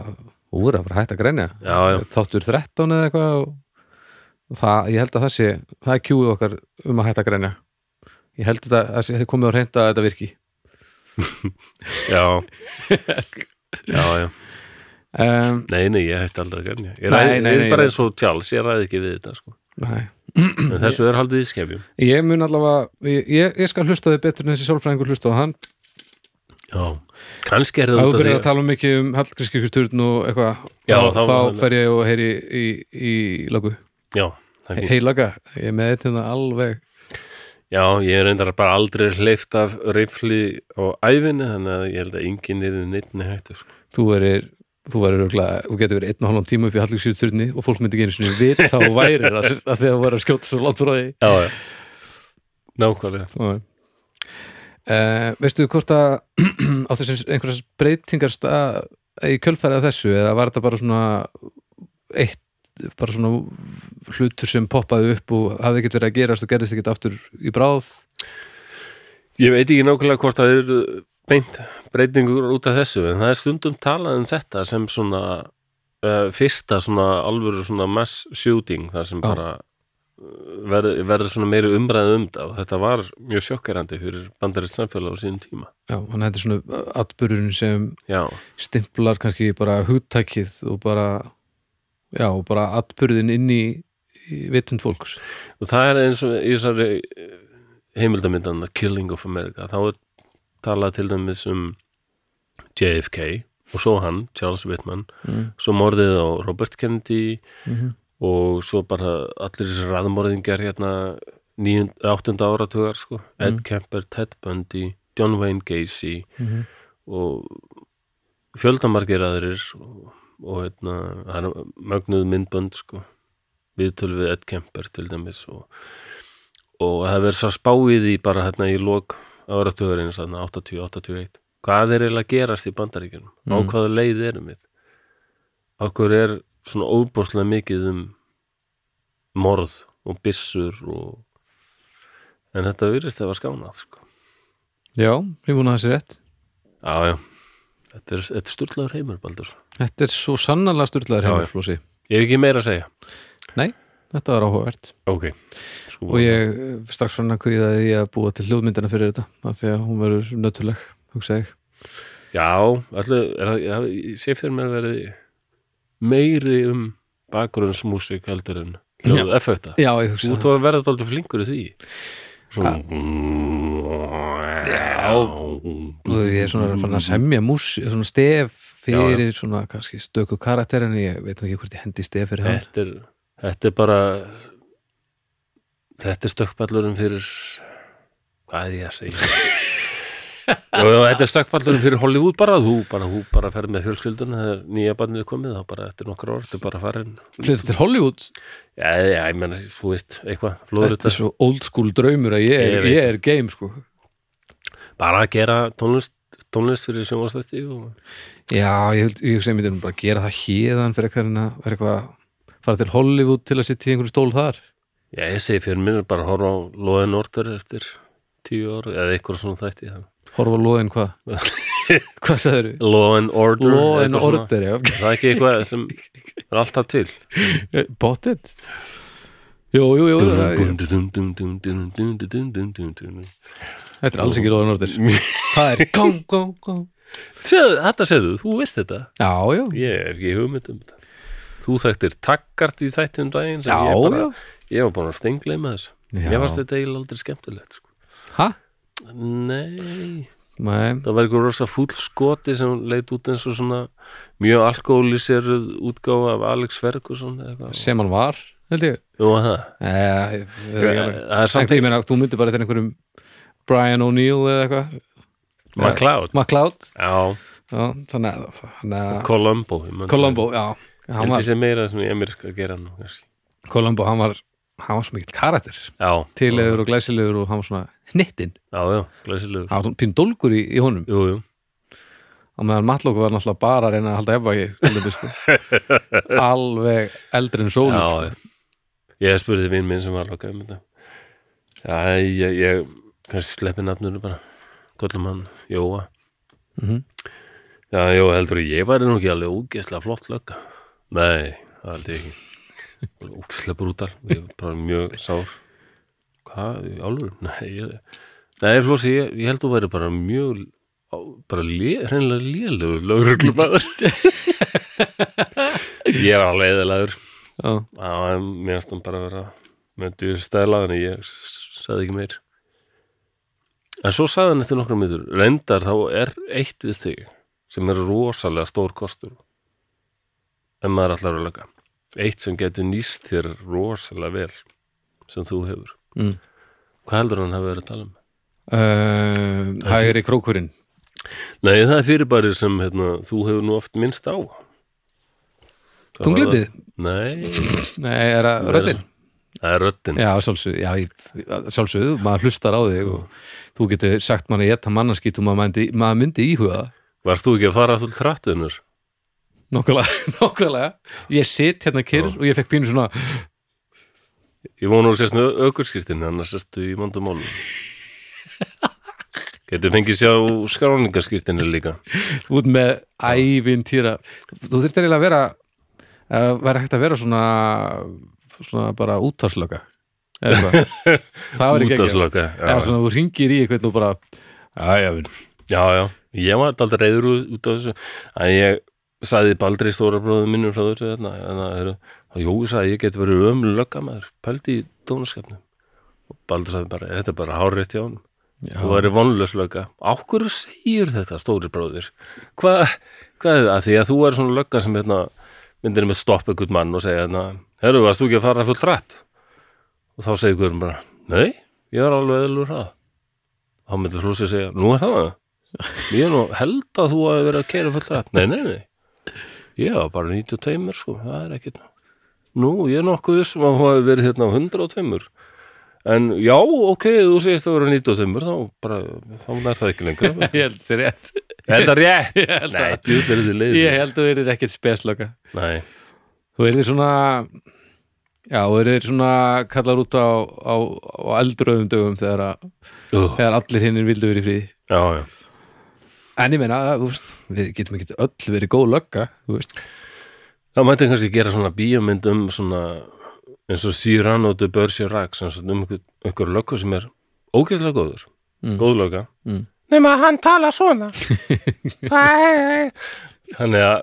Speaker 2: þú eru að fara að hætta að grænja
Speaker 1: Já, já.
Speaker 2: þáttur 13 eða eitthvað og, og það, ég held að það sé það er kjúið okkar um að hætta að grænja ég held að það sé komið á reynd að þetta virki
Speaker 1: Já. já, já.
Speaker 2: um,
Speaker 1: Nei, nei, ég hætti aldrei að gernja.
Speaker 2: Nei,
Speaker 1: Ég, ræð,
Speaker 2: nei,
Speaker 1: ég
Speaker 2: nei,
Speaker 1: er bara
Speaker 2: nei.
Speaker 1: eins og tjáls, ég ræði ekki við þetta, sko.
Speaker 2: nei,
Speaker 1: En þessu er haldið í skefjum.
Speaker 2: ég mun allavega ég, ég, ég skal hlusta á þig betur en þessi sálfræðingur hlusta á hann
Speaker 1: Já. Kannski er
Speaker 2: ef
Speaker 1: það
Speaker 2: þú
Speaker 1: út af því
Speaker 2: byrjar að
Speaker 1: að...
Speaker 2: tala um mikið um Hallgrískirkusturn og eitthvað
Speaker 1: Já,
Speaker 2: þá,
Speaker 1: þá-
Speaker 2: þá fer ég og heyri í, í, í lagu,
Speaker 1: Já, það er fínt.
Speaker 2: heilaga ég er með þetta hérna alveg
Speaker 1: Já, ég er reyndar bara aldrei hleyft af rifli og ævinni, þannig að ég held að enginn er neittni hættu, sko.
Speaker 2: þú verir þú verður örgulega, þú getur verið einn og halvan tíma upp í hallingsjöturni og fólk myndi ekki einu sinni vit þá væri það að því að þú verður að skjóta svo látt frá því
Speaker 1: Já, já. Nákvæmlega.
Speaker 2: uh, Eh, veistu hvort að áttu sem einhverjas breytingar stað í kjölfærið af þessu eða var þetta bara svona eitt bara svona hlutur sem poppaði upp og hafði ekkert verið að gerast og gerðist ekkert aftur í bráð
Speaker 1: Ég veit ekki nákvæmlega hvort það eru beint breytingur út af þessu, en það er stundum talað um þetta sem svona uh, fyrsta svona alvöru svona mass shooting, það sem
Speaker 2: Já.
Speaker 1: bara uh, verð- verður svona meiri umræð um það og þetta var mjög sjokkerandi fyrir bandarist samfélag á sínum tíma.
Speaker 2: já, þannig að þetta er svona atbyrjun sem
Speaker 1: Já,
Speaker 2: stimplar kannski bara hugtækið og bara já, og bara atbyrðin inn í, í vitund fólks
Speaker 1: og það er eins og í þessari heimildamindana Killing of America þá er talað til dæmis um JFK og svo hann, Charles Whitman
Speaker 2: mm.
Speaker 1: svo morðið á Robert Kennedy
Speaker 2: Mm
Speaker 1: og svo bara allir þessi raðmorðingar hérna 9, 8. áratugar sko Ed Kemper, Ted Bundy, John Wayne Gacy
Speaker 2: mhm.
Speaker 1: og fjöldamargir aðrir og, og hérna það er mögnuð myndbönd sko viðtöl við Ed Kemper til dæmis og, og það verður svo spáið í bara hérna í lok áratugurinn þarna 80-81 hvað er eiginlega að gerast í bandaríkjunum á
Speaker 2: Mm.
Speaker 1: hvaða leið erum við okkur er svona óbúslega mikið um morð og byssur og en þetta virðist að var skánað sko
Speaker 2: já, ég vona þessi rétt
Speaker 1: já já þetta er, þetta er sturlaður heimur Baldur
Speaker 2: þetta er svo sannanlega styrlaður
Speaker 1: Já,
Speaker 2: heimur
Speaker 1: já.
Speaker 2: Flósi.
Speaker 1: ég hef ekki meira að segja
Speaker 2: nei, þetta var áhugavert
Speaker 1: ok sko,
Speaker 2: og ég eh, strax fann að kvíða því að búa til hljóðmyndina fyrir þetta af því að hún verður nöttuleg hugsa ég
Speaker 1: Já, allir, er, það- það- ég sé fyrir mér að verði meiri um bakgrunnsmúsík heldur en hljóð effekta
Speaker 2: já, ég
Speaker 1: Þú
Speaker 2: hugsa
Speaker 1: ert að verða dálítið flinkur í því Svona
Speaker 2: Þú veist, ég er svona fann
Speaker 1: Mm.
Speaker 2: að semja mús svona stef fyrir svona kannski stöku karakter en ég veit nú ekki hvort ég hendi stef fyrir hann
Speaker 1: þetta er, þetta er bara Þetta er stökkballurinn fyrir Hvað er ég að segja? Jó, jó, þetta er stökkballurinn fyrir Hollywood bara, þú bara, þú bara ferð með fjölskyldun þegar nýja barnið er komið, þá bara eftir nokkra orð, þetta er bara farin
Speaker 2: flytta til Hollywood,
Speaker 1: Já, já, ég menna, þú veist, eitthvað, flóður
Speaker 2: þetta er svo old school draumur að ég
Speaker 1: Ég
Speaker 2: er,
Speaker 1: veit.
Speaker 2: ég er game sko
Speaker 1: bara að gera tónlist, tónlist fyrir sjónvastætti og
Speaker 2: já, ég, held- ég hugsa einmitt um bara að gera það hérðan fyrir eitthvað en að vera eitthvað fara til Hollywood til að sitja í einhverju stól þar
Speaker 1: Já, ég segi fyrir mér bara að horfa á loðin orður eftir tíu ára eða eitthvað svona þætti
Speaker 2: horfa á loðin hvað hvað sagður við?
Speaker 1: loðin orður
Speaker 2: loðin order, já,
Speaker 1: Það er ekki eitthvað sem er alltaf til
Speaker 2: bóttið jú, jú, jú, það- ég-
Speaker 1: Sjáðu,
Speaker 2: þetta er alls ekki loðin order það er gong, gong, gong
Speaker 1: þetta segðu, þú veist þetta
Speaker 2: já, já,
Speaker 1: Ég hef ekki hugmynd um þetta Þú þekktir takkart í þætti um daginn sem
Speaker 2: já,
Speaker 1: ég, bara,
Speaker 2: já
Speaker 1: ég var bara að stengla með þessu
Speaker 2: Já.
Speaker 1: Mér varst þetta eiginlega aldrei skemmtilegt sko.
Speaker 2: Hæ?
Speaker 1: Nei
Speaker 2: Nei,
Speaker 1: það var eitthvað rosa fúll skoti sem leit út eins og svona mjög alkohóliseruð útgáfa af Alex Ferguson eða eitthvað
Speaker 2: sem hann var, held ég
Speaker 1: Jú, það.
Speaker 2: Nei, það er ekki alveg.
Speaker 1: það er samt
Speaker 2: En ég meina, þú myndir bara til einhverjum Brian O'Neill eða eitthvað
Speaker 1: McCloud
Speaker 2: McCloud,
Speaker 1: já,
Speaker 2: já, þannig að- þannig að
Speaker 1: Columbo ég man
Speaker 2: Columbo, já
Speaker 1: það.
Speaker 2: hann
Speaker 1: Held
Speaker 2: var,
Speaker 1: ég sé meira sem ég mér að gera nú kannski.
Speaker 2: Columbo, hann var hann var svo mikill karakter,
Speaker 1: já,
Speaker 2: tilegur og glæsilegur og hann var svona hnittinn,
Speaker 1: já, já, glæsilegur
Speaker 2: hann var svona pín dólgur í, í honum
Speaker 1: jú, jú,
Speaker 2: og meðan Matlók var náttúrulega bara að reyna að halda efa ekki, sko. alveg eldri en sólur
Speaker 1: já,
Speaker 2: sko.
Speaker 1: já ég spurði vinn minn sem var lokað um þetta já, ég, ég kannski sleppi nafnunu bara kollum hann, Jóa
Speaker 2: Mhm.
Speaker 1: já, Jóa heldur ég væri nú ekki alveg ógeðslega flott lögga nei, það held ég ekki ógeðslega brútal, ég er bara mjög sár hvað, í alvöru nei, ég, nei flósi, ég, ég held þú væri bara mjög á- bara lé, hreinlega lélegur lögreglumæður ég var alveg eðalagur
Speaker 2: já.
Speaker 1: Já, en mér finnst hann bara að vera með dýr stæla þannig ég s- sagði ekki meir En svo sagði hann eftir nokkra mýtur reyndar þá er eitt við þig sem er rosalega stór kostur en maður allar að lögga eitt sem getur nýst þér rosalega vel sem þú hefur
Speaker 2: Mm.
Speaker 1: Hvað heldur hann hafi verið að tala um?
Speaker 2: Uh, hægri krókurinn
Speaker 1: Nei, það er fyrirbæri sem hérna, þú hefur nú oft minnst á Það var-
Speaker 2: tunglitið,
Speaker 1: Nei,
Speaker 2: nei, er að röddinn
Speaker 1: það er röddin
Speaker 2: Já, sjálfsögðu, já, ég- að sjálfsögðu, maður hlustar á þig og þú getur sagt manni ég það mannarskýt og maður myndi, maður myndi íhuga það.
Speaker 1: Varst þú ekki að fara að þú trættunur?
Speaker 2: Nákvæmlega, nákvæmlega. Ég sit hérna kyrr og ég fekk pínu svona,
Speaker 1: Ég vona að þú sérst með aukurskristinni, annars sérstu í vandum málum. Getur fengið sjá skráningarskristinni líka.
Speaker 2: út með ævintýra. Þú þurftir eiginlega að vera, að vera hægt að vera svona, svona bara útvarslöka. eða eitthvað. Það var ekki ekki.
Speaker 1: Útaslöka.
Speaker 2: Já,
Speaker 1: Já,
Speaker 2: svona þú ringir í eitthvað og bara, já, já, vinur.
Speaker 1: já, já. Ég var alltaf reyður ú- út af þessu. Að ég sagði Baldri stóra bróðum minnum frá þessu hérna, þarna. Þannig að þeirra, að jú, ég sagði, ég geti verið ömlu löggamæður. Pældi í dónaskapnum. Og Baldur sagði bara, þetta er bara hárétt hjá honum.
Speaker 2: Já,
Speaker 1: Þú væri vonlaus lögga. Á hverju segir þetta, stóri bróðir? Hva, hvað er það? Því að þú er svona lögga sem hérna, myndir með stopp einhvern mann og segja hérna, herru, varst þú ekki að fara fullt rætt? Og þá segir hverjum bara, nei, ég er alveg eðlur hrað. Þá myndir flósið að segja, nú er það það. Ég er nú held að þú hafi verið að keira fullt rætt. Nei, nei, nei. Ég var bara 92 mér, sko, það er ekkert. Nú, ég er nokkuð sem að þú hafi verið hérna á 102 En já, ok, þú segist að vera 95 þá bara, þá er það ekki lengra
Speaker 2: ég held þér rétt.
Speaker 1: Er það rétt?
Speaker 2: Ég held
Speaker 1: Nei,
Speaker 2: að,
Speaker 1: djúð er þið leiðir
Speaker 2: ég held að þú erir ekkert speslöka.
Speaker 1: Nei,
Speaker 2: Þú erðir svona Já, þú erðir svona kallar út á, á, á eldröðum dögum þegar, að,
Speaker 1: uh,
Speaker 2: þegar allir hinnir vildu verið frí
Speaker 1: já, já
Speaker 2: En ég meina, þú veist, við getum ekki öll verið góð lögga, þú veist
Speaker 1: Það mætti kannski gera svona bíómynd um svona eins og Sýran og Döbörsi Rags eins og um einhver, einhver löggu sem er ógeðslega góður,
Speaker 2: Mm.
Speaker 1: góð lögga
Speaker 2: Mm.
Speaker 1: Nefna að hann tala svona Æ, æ, æ. Þannig að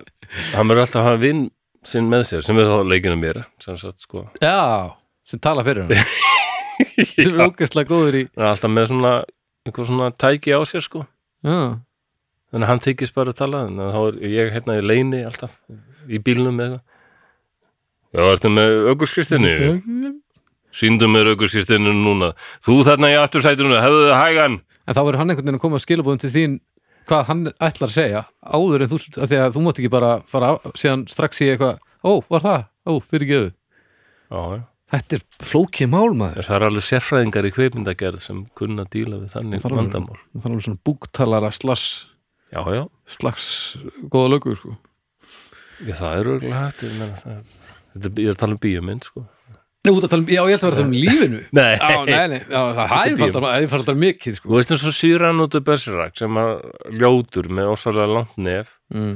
Speaker 1: hann verður alltaf að hafa vinn sinn með sér sem er þá leikinu mér sem sagt sko
Speaker 2: Já, sem tala fyrir hann sem er
Speaker 1: Já.
Speaker 2: ógeðslega góður í
Speaker 1: Hann er alltaf með svona einhver svona tæki á sér sko
Speaker 2: Já,
Speaker 1: þannig að hann tekist bara að tala þannig að þá er ég hérna í leini alltaf í bílnum eða eitthvað Já, ertu með aukurskristinni?
Speaker 2: en
Speaker 1: Sýndu mér aukurskristinni núna Þú þarna í aftursætunum, hefðu þið hægan
Speaker 2: þá verður hann einhvern veginn að koma að skilabóðum til þín hvað hann ætlar að segja áður en þú, af því að þú mátt ekki bara fara á, síðan strax í eitthvað ó, var það, ó, fyrir geðu
Speaker 1: Já, já
Speaker 2: Þetta er flókið mál maður
Speaker 1: Er það eru alveg sérfræðingar í kveipindagerð sem kunna að díla við þannig
Speaker 2: Það er alveg-
Speaker 1: vandamál.
Speaker 2: það er alveg svona búktalara slags
Speaker 1: Já, já,
Speaker 2: slags góða lögur sko.
Speaker 1: já, það er örgulega hægt. Ég, meina, það, þetta, ég er að tala um bíómynd, sko.
Speaker 2: Nei, út að tala um, já, ég held að vera að tala um lífinu
Speaker 1: Nei.
Speaker 2: Já, nei, nei, já, það það er
Speaker 1: bíó.
Speaker 2: falltar- það er falltar mikið sko.
Speaker 1: Þú veist eins og Sýran út af Berserak sem að ljótur með ósvalega langt nef.
Speaker 2: mm.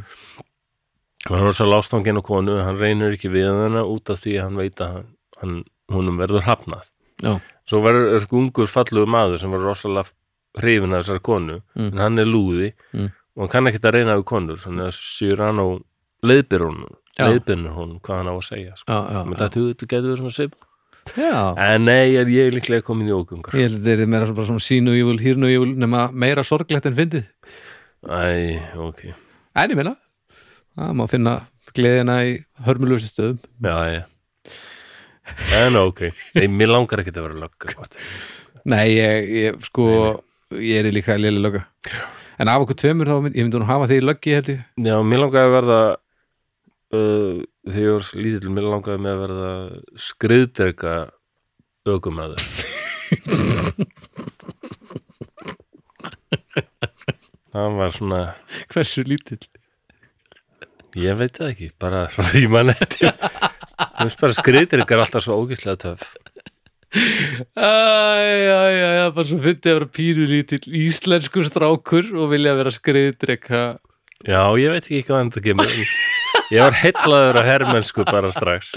Speaker 1: Hann er ósvalega ástangin og konu, hann reynir ekki við hana út af því að hann veit að hann, hann, húnum verður hafnað.
Speaker 2: Já,
Speaker 1: Svo verður er sko ungur fallegu maður sem verður ósvalega hrifin af þessar konu,
Speaker 2: Mm.
Speaker 1: en hann er lúði
Speaker 2: Mm.
Speaker 1: og hann kann ekki að reyna við konur. Þannig að Sýran og leiðbyr hún,
Speaker 2: Já.
Speaker 1: hún hvað hann á að segja, sko.
Speaker 2: já, já, já.
Speaker 1: Mér dætti hug, þetta getur verið svona svip
Speaker 2: já.
Speaker 1: En nei, er ég líklega komin í ógöngar
Speaker 2: Ég held að þetta er meira svona, bara svona sínu júl, hýrnu júl nema meira sorglegt en fyndið
Speaker 1: Æ, ok
Speaker 2: En ég meina, það má finna gleðina í hörmulösi stöðum
Speaker 1: Já, já En ok, nei, mér langar ekki að vera löggur
Speaker 2: Nei, ég, ég sko ég er líka léli lögga En af okkur tveimur þá, mynd, ég myndi hún hafa því í löggi held ég
Speaker 1: Já, mér langar að verða uh, Þegar ég var lítill Mér langaði með að verða skriðdreka ögumæður Það var svona
Speaker 2: Hversu lítill
Speaker 1: Ég veit það ekki, bara frá því mann eftir Mér finnst bara skriðdreka er alltaf svo ógislega töf
Speaker 2: Æ, já, já, já, bara svo fyndi að vera pínu lítill íslenskur strákur og vilja vera skriðdreka
Speaker 1: Já, ég veit ekki hvað þetta kemur Ég var heillaður á hermennsku bara strax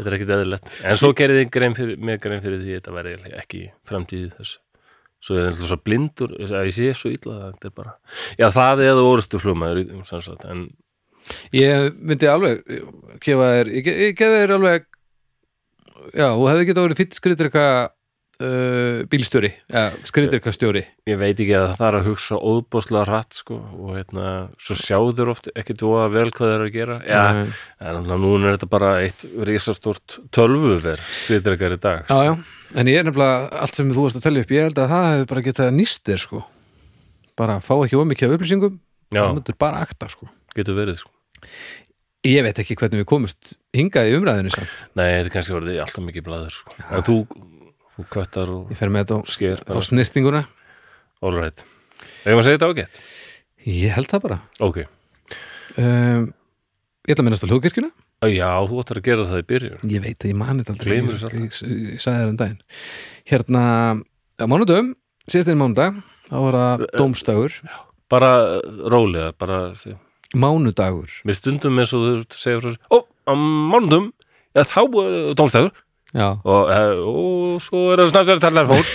Speaker 2: uh,
Speaker 1: er ekkit eðlilegt En svo gerði ég grein fyrir, mér grein fyrir því að Þetta væri eiginlega ekki framtíði þess Svo ég er alltaf svo blindur að Ég sé svo illa að þetta er bara Já, það eða orðustu flugmaður í- sem sagt, En
Speaker 2: Ég myndi alveg gefa þér, ég, ge- ég gefa þér alveg já, þú hefði getað verið fýtt skriðdreka uh, bílstjóri, ja, skriðdreka stjóri
Speaker 1: ég veit ekki að það er að hugsa óðbóðslega hratt sko, og hérna, svo sjáður oft ekkit voða vel hvað það er að gera Já, en þannig að núna er þetta bara eitt risastórt tölvuver skriðdrekar í dag sko.
Speaker 2: Já, já, en ég er nefnilega allt sem þú varst að telja upp, ég held að það hefði bara getað nýst þér sko bara fá ekki ómikið af upplýsingum
Speaker 1: Já,
Speaker 2: það myndur bara akta sko
Speaker 1: getur verið sko
Speaker 2: Ég veit ekki hvernig við komumst hingað í umræðinu samt,
Speaker 1: Nei, þetta er kannski verið alltaf mikið blaður sko. En þú, þú köttar og
Speaker 2: ég fer með þetta á,
Speaker 1: sker
Speaker 2: á snirtinguna
Speaker 1: All right Þegar maður segir þetta ágætt
Speaker 2: Ég held það bara
Speaker 1: Ok,
Speaker 2: um, Ég ætla að minnast á hljóðkirkjuna
Speaker 1: Æ, já, þú ættar að gera það í byrjun
Speaker 2: Ég veit að ég mani þetta aldrei
Speaker 1: Gleymir
Speaker 2: Ég,
Speaker 1: þessu
Speaker 2: ég, ég, ég sagði þér um daginn Hérna, á mánudum síðastinn mánudag, þá var það dómstagur
Speaker 1: Bara uh, rólega, bara seg-
Speaker 2: Mánudagur,
Speaker 1: Við stundum eins og þú segir frá Ó, á mánudum, já þá tónstæður
Speaker 2: já
Speaker 1: og, eh, og svo er það snabbt verið að tala fór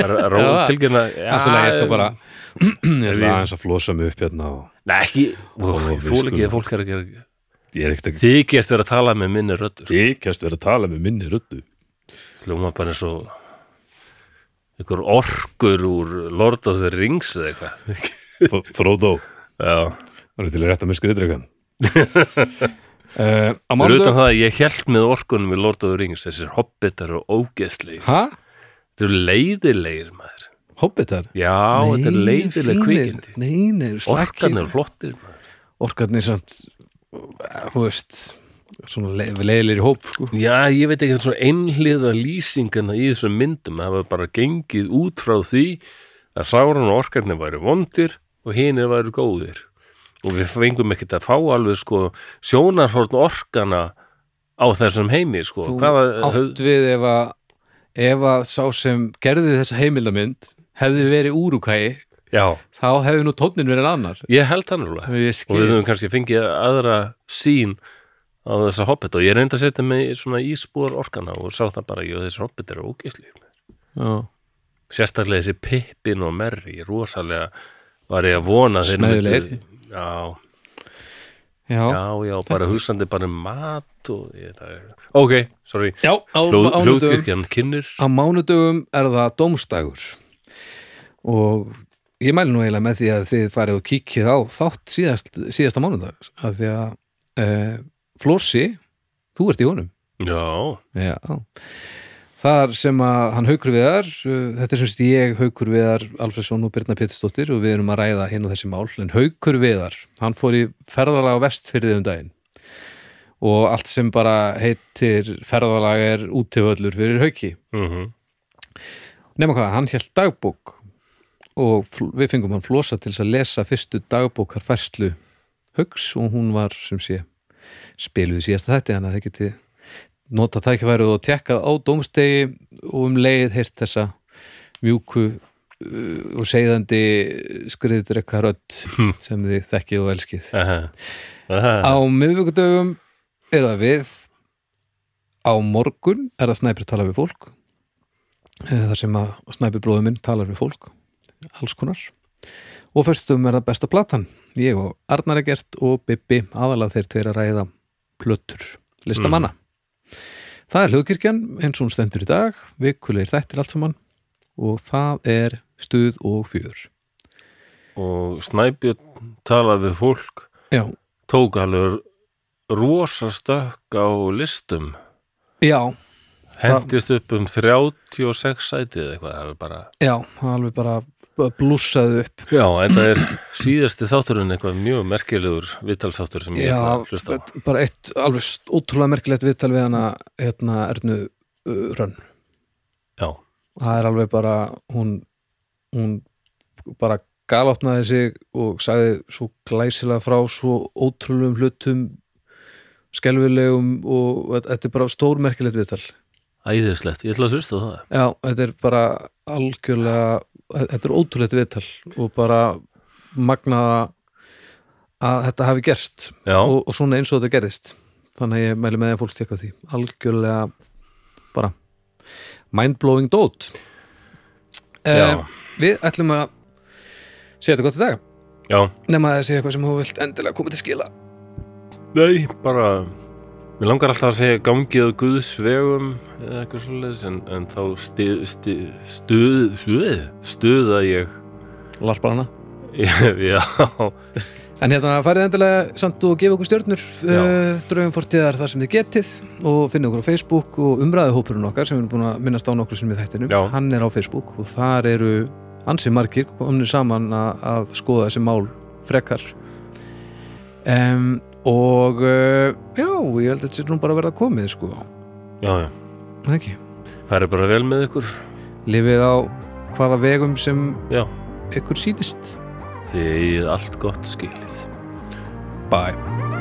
Speaker 1: Bara ró,
Speaker 2: Já,
Speaker 1: tilgjörna
Speaker 2: Allt í lagi,
Speaker 1: eh,
Speaker 2: ég skal bara Ég
Speaker 1: Ef ég-
Speaker 2: ætla aðeins að flosa mig upp hérna og
Speaker 1: Nei, ekki, ó,
Speaker 2: Ó, við
Speaker 1: þú
Speaker 2: skulum.
Speaker 1: ekki að fólk er að gera
Speaker 2: ég er ekkert
Speaker 1: Þykjast verið að tala með minni röddur
Speaker 2: að þykjast vera að tala með minni röddu
Speaker 1: Ljóma bara eins og ykkur orkur úr Lord of the Rings eða eitthvað
Speaker 2: Fróðó,
Speaker 1: Já,
Speaker 2: það er til að rétta mér skriðdrekan uh, Á
Speaker 1: fyrir utan
Speaker 2: mánudum
Speaker 1: það að ég held með orkunum í Lord of the Rings þessir hobbitar og ógeðslegir
Speaker 2: Hæ?
Speaker 1: Þetta eru leiðilegir maður
Speaker 2: Hobbitar?
Speaker 1: Já, þetta eru leiðileg kvikindi
Speaker 2: Nei, nei,
Speaker 1: Orkan
Speaker 2: slakir
Speaker 1: eru flottir maður
Speaker 2: Orkarnir samt Þú veist Svona le leiðilegir í hóp sko
Speaker 1: Já, ég veit ekki þetta er svona einhliða lýsingana í þessum myndum það hafa bara gengið út frá því að Sauron og orkarnir væri vondir og hinir væri góðir og við fengum ekkert að fá alveg sko sjónarhorn orkana á þessum heimi sko
Speaker 2: Þú
Speaker 1: Hvaða- höf-
Speaker 2: átt við ef að ef að sá sem gerði þessa heimildamynd hefði verið úrúkæi
Speaker 1: Já,
Speaker 2: þá hefði nú tónnin verið annar
Speaker 1: ég held hann alveg
Speaker 2: ég
Speaker 1: og við
Speaker 2: skil,
Speaker 1: höfum kannski fengið aðra sín á þessa hobbit og ég reyndi að setja mig svona í spór orkana og sá það bara, jú, þessi hobbit eru ógeisli
Speaker 2: Já.
Speaker 1: sérstaklega þessi Pippin og Merry rosalega var ég að vona að þeir myndu-
Speaker 2: Smeðulegir.
Speaker 1: Já,
Speaker 2: já,
Speaker 1: já, já, bara hugsandi bara um mat og ég, það er, ok, sorry
Speaker 2: já á, á
Speaker 1: Hljóð,
Speaker 2: mánudögum
Speaker 1: hljóðkirkjan kynir
Speaker 2: á mánudögum er það dómstagur og ég mæli nú eiginlega með því að þið farið og kíkið á þátt síðast, síðasta mánudag að því að e, Flossi, þú ert í honum
Speaker 1: já,
Speaker 2: Já. Þar sem að hann haukur viðar, uh, þetta er sem sagt ég haukur viðar Alfredsson og Birna Pétursdóttir og við erum að ræða hinn og þessi mál, en haukur viðar, hann fór í ferðalag á vestfyrðið um daginn og allt sem bara heitir ferðalag er útiföllur fyrir hauki.
Speaker 1: mhm
Speaker 2: Nefna hvað, hann hélt dagbók og fl- við fengum hann flosa til þess að lesa fyrstu dagbókar færslu Hugs og hún var sem sé spiluð í síðasta þætti hann að þið geti nota tækifærið og tekkað á dómstegi og um leið heyrt þessa mjúku uh, og segðandi skriður eitthvað rödd sem þið þekkið og elskið
Speaker 1: Aha. Aha.
Speaker 2: Á miðvikudögum er það við Á morgun er það snæpir tala við fólk Eh, þar sem að snæpir bróður minn talar við fólk alls konar og föstum er það besta platan ég og Arnar Egert og Bibbi aðalega þeir tveir að ræða plötur listamanna Það er hlugkirkjan eins og hún stendur í dag vikulegir þættir allt saman og það er stuð og fjör
Speaker 1: og Snæbjörn talaði við fólk
Speaker 2: Já,
Speaker 1: tók alveg rosastökk á listum
Speaker 2: já,
Speaker 1: hendist upp um 36 sætið eða eitthvað, það er bara
Speaker 2: já það er alveg bara blússaði upp
Speaker 1: Já, en það er síðasti þátturinn eitthvað mjög merkilegur vitalsþáttur sem ég ætla
Speaker 2: Já,
Speaker 1: að hlusta á.
Speaker 2: þetta- bara eitt alveg st- ótrúlega merkilegt viðtal við hana hérna Ernu uh, Rönn
Speaker 1: Já,
Speaker 2: það er alveg bara hún, hún bara galopnaði sig og sagði svo glæsilega frá svo ótrúlegum hlutum skelfilegum og þetta- þetta er bara stórmerkilegt viðtal
Speaker 1: æðislegt, ég ætla að hlusta á það
Speaker 2: Já, þetta er bara algjörlega þetta er ótrúlegt viðtal og bara magnaða að þetta hafi gerst
Speaker 1: Já,
Speaker 2: og, og svona eins og þetta gerðist þannig að ég mæli með að fólk tekka því algjörlega bara mindblowing dót Eh,
Speaker 1: Já.
Speaker 2: við ætlum að segja þetta gott í dag
Speaker 1: já,
Speaker 2: nema að segja eitthvað sem þú vilt endilega koma til skila
Speaker 1: nei, bara Mér langar alltaf að segja gangið á Guðs vegum eða eitthvað svoleiðis en, en þá stið, stið, stuð, stuð, stuða ég
Speaker 2: larpar hana
Speaker 1: Já,
Speaker 2: en hérna farið endilega samt og gefa okkur stjörnur
Speaker 1: Já.
Speaker 2: uh, draugum fortíðar þar sem þið getið og finna okkur á Facebook og umræðu hópurinn okkar sem við erum búin að minnast á nokkur sinni með þættinum
Speaker 1: Já.
Speaker 2: hann er á Facebook og þar eru ansið margir komnir saman að, að skoða þessi mál frekar um, og uh, já, ég held að þetta sé nú bara að verða komið sko,
Speaker 1: já, já
Speaker 2: Er það ekki
Speaker 1: Það er bara vel með ykkur
Speaker 2: lifið á hvaða vegum sem
Speaker 1: Já,
Speaker 2: ykkur sýnist
Speaker 1: þið eigið allt gott skilið
Speaker 2: bye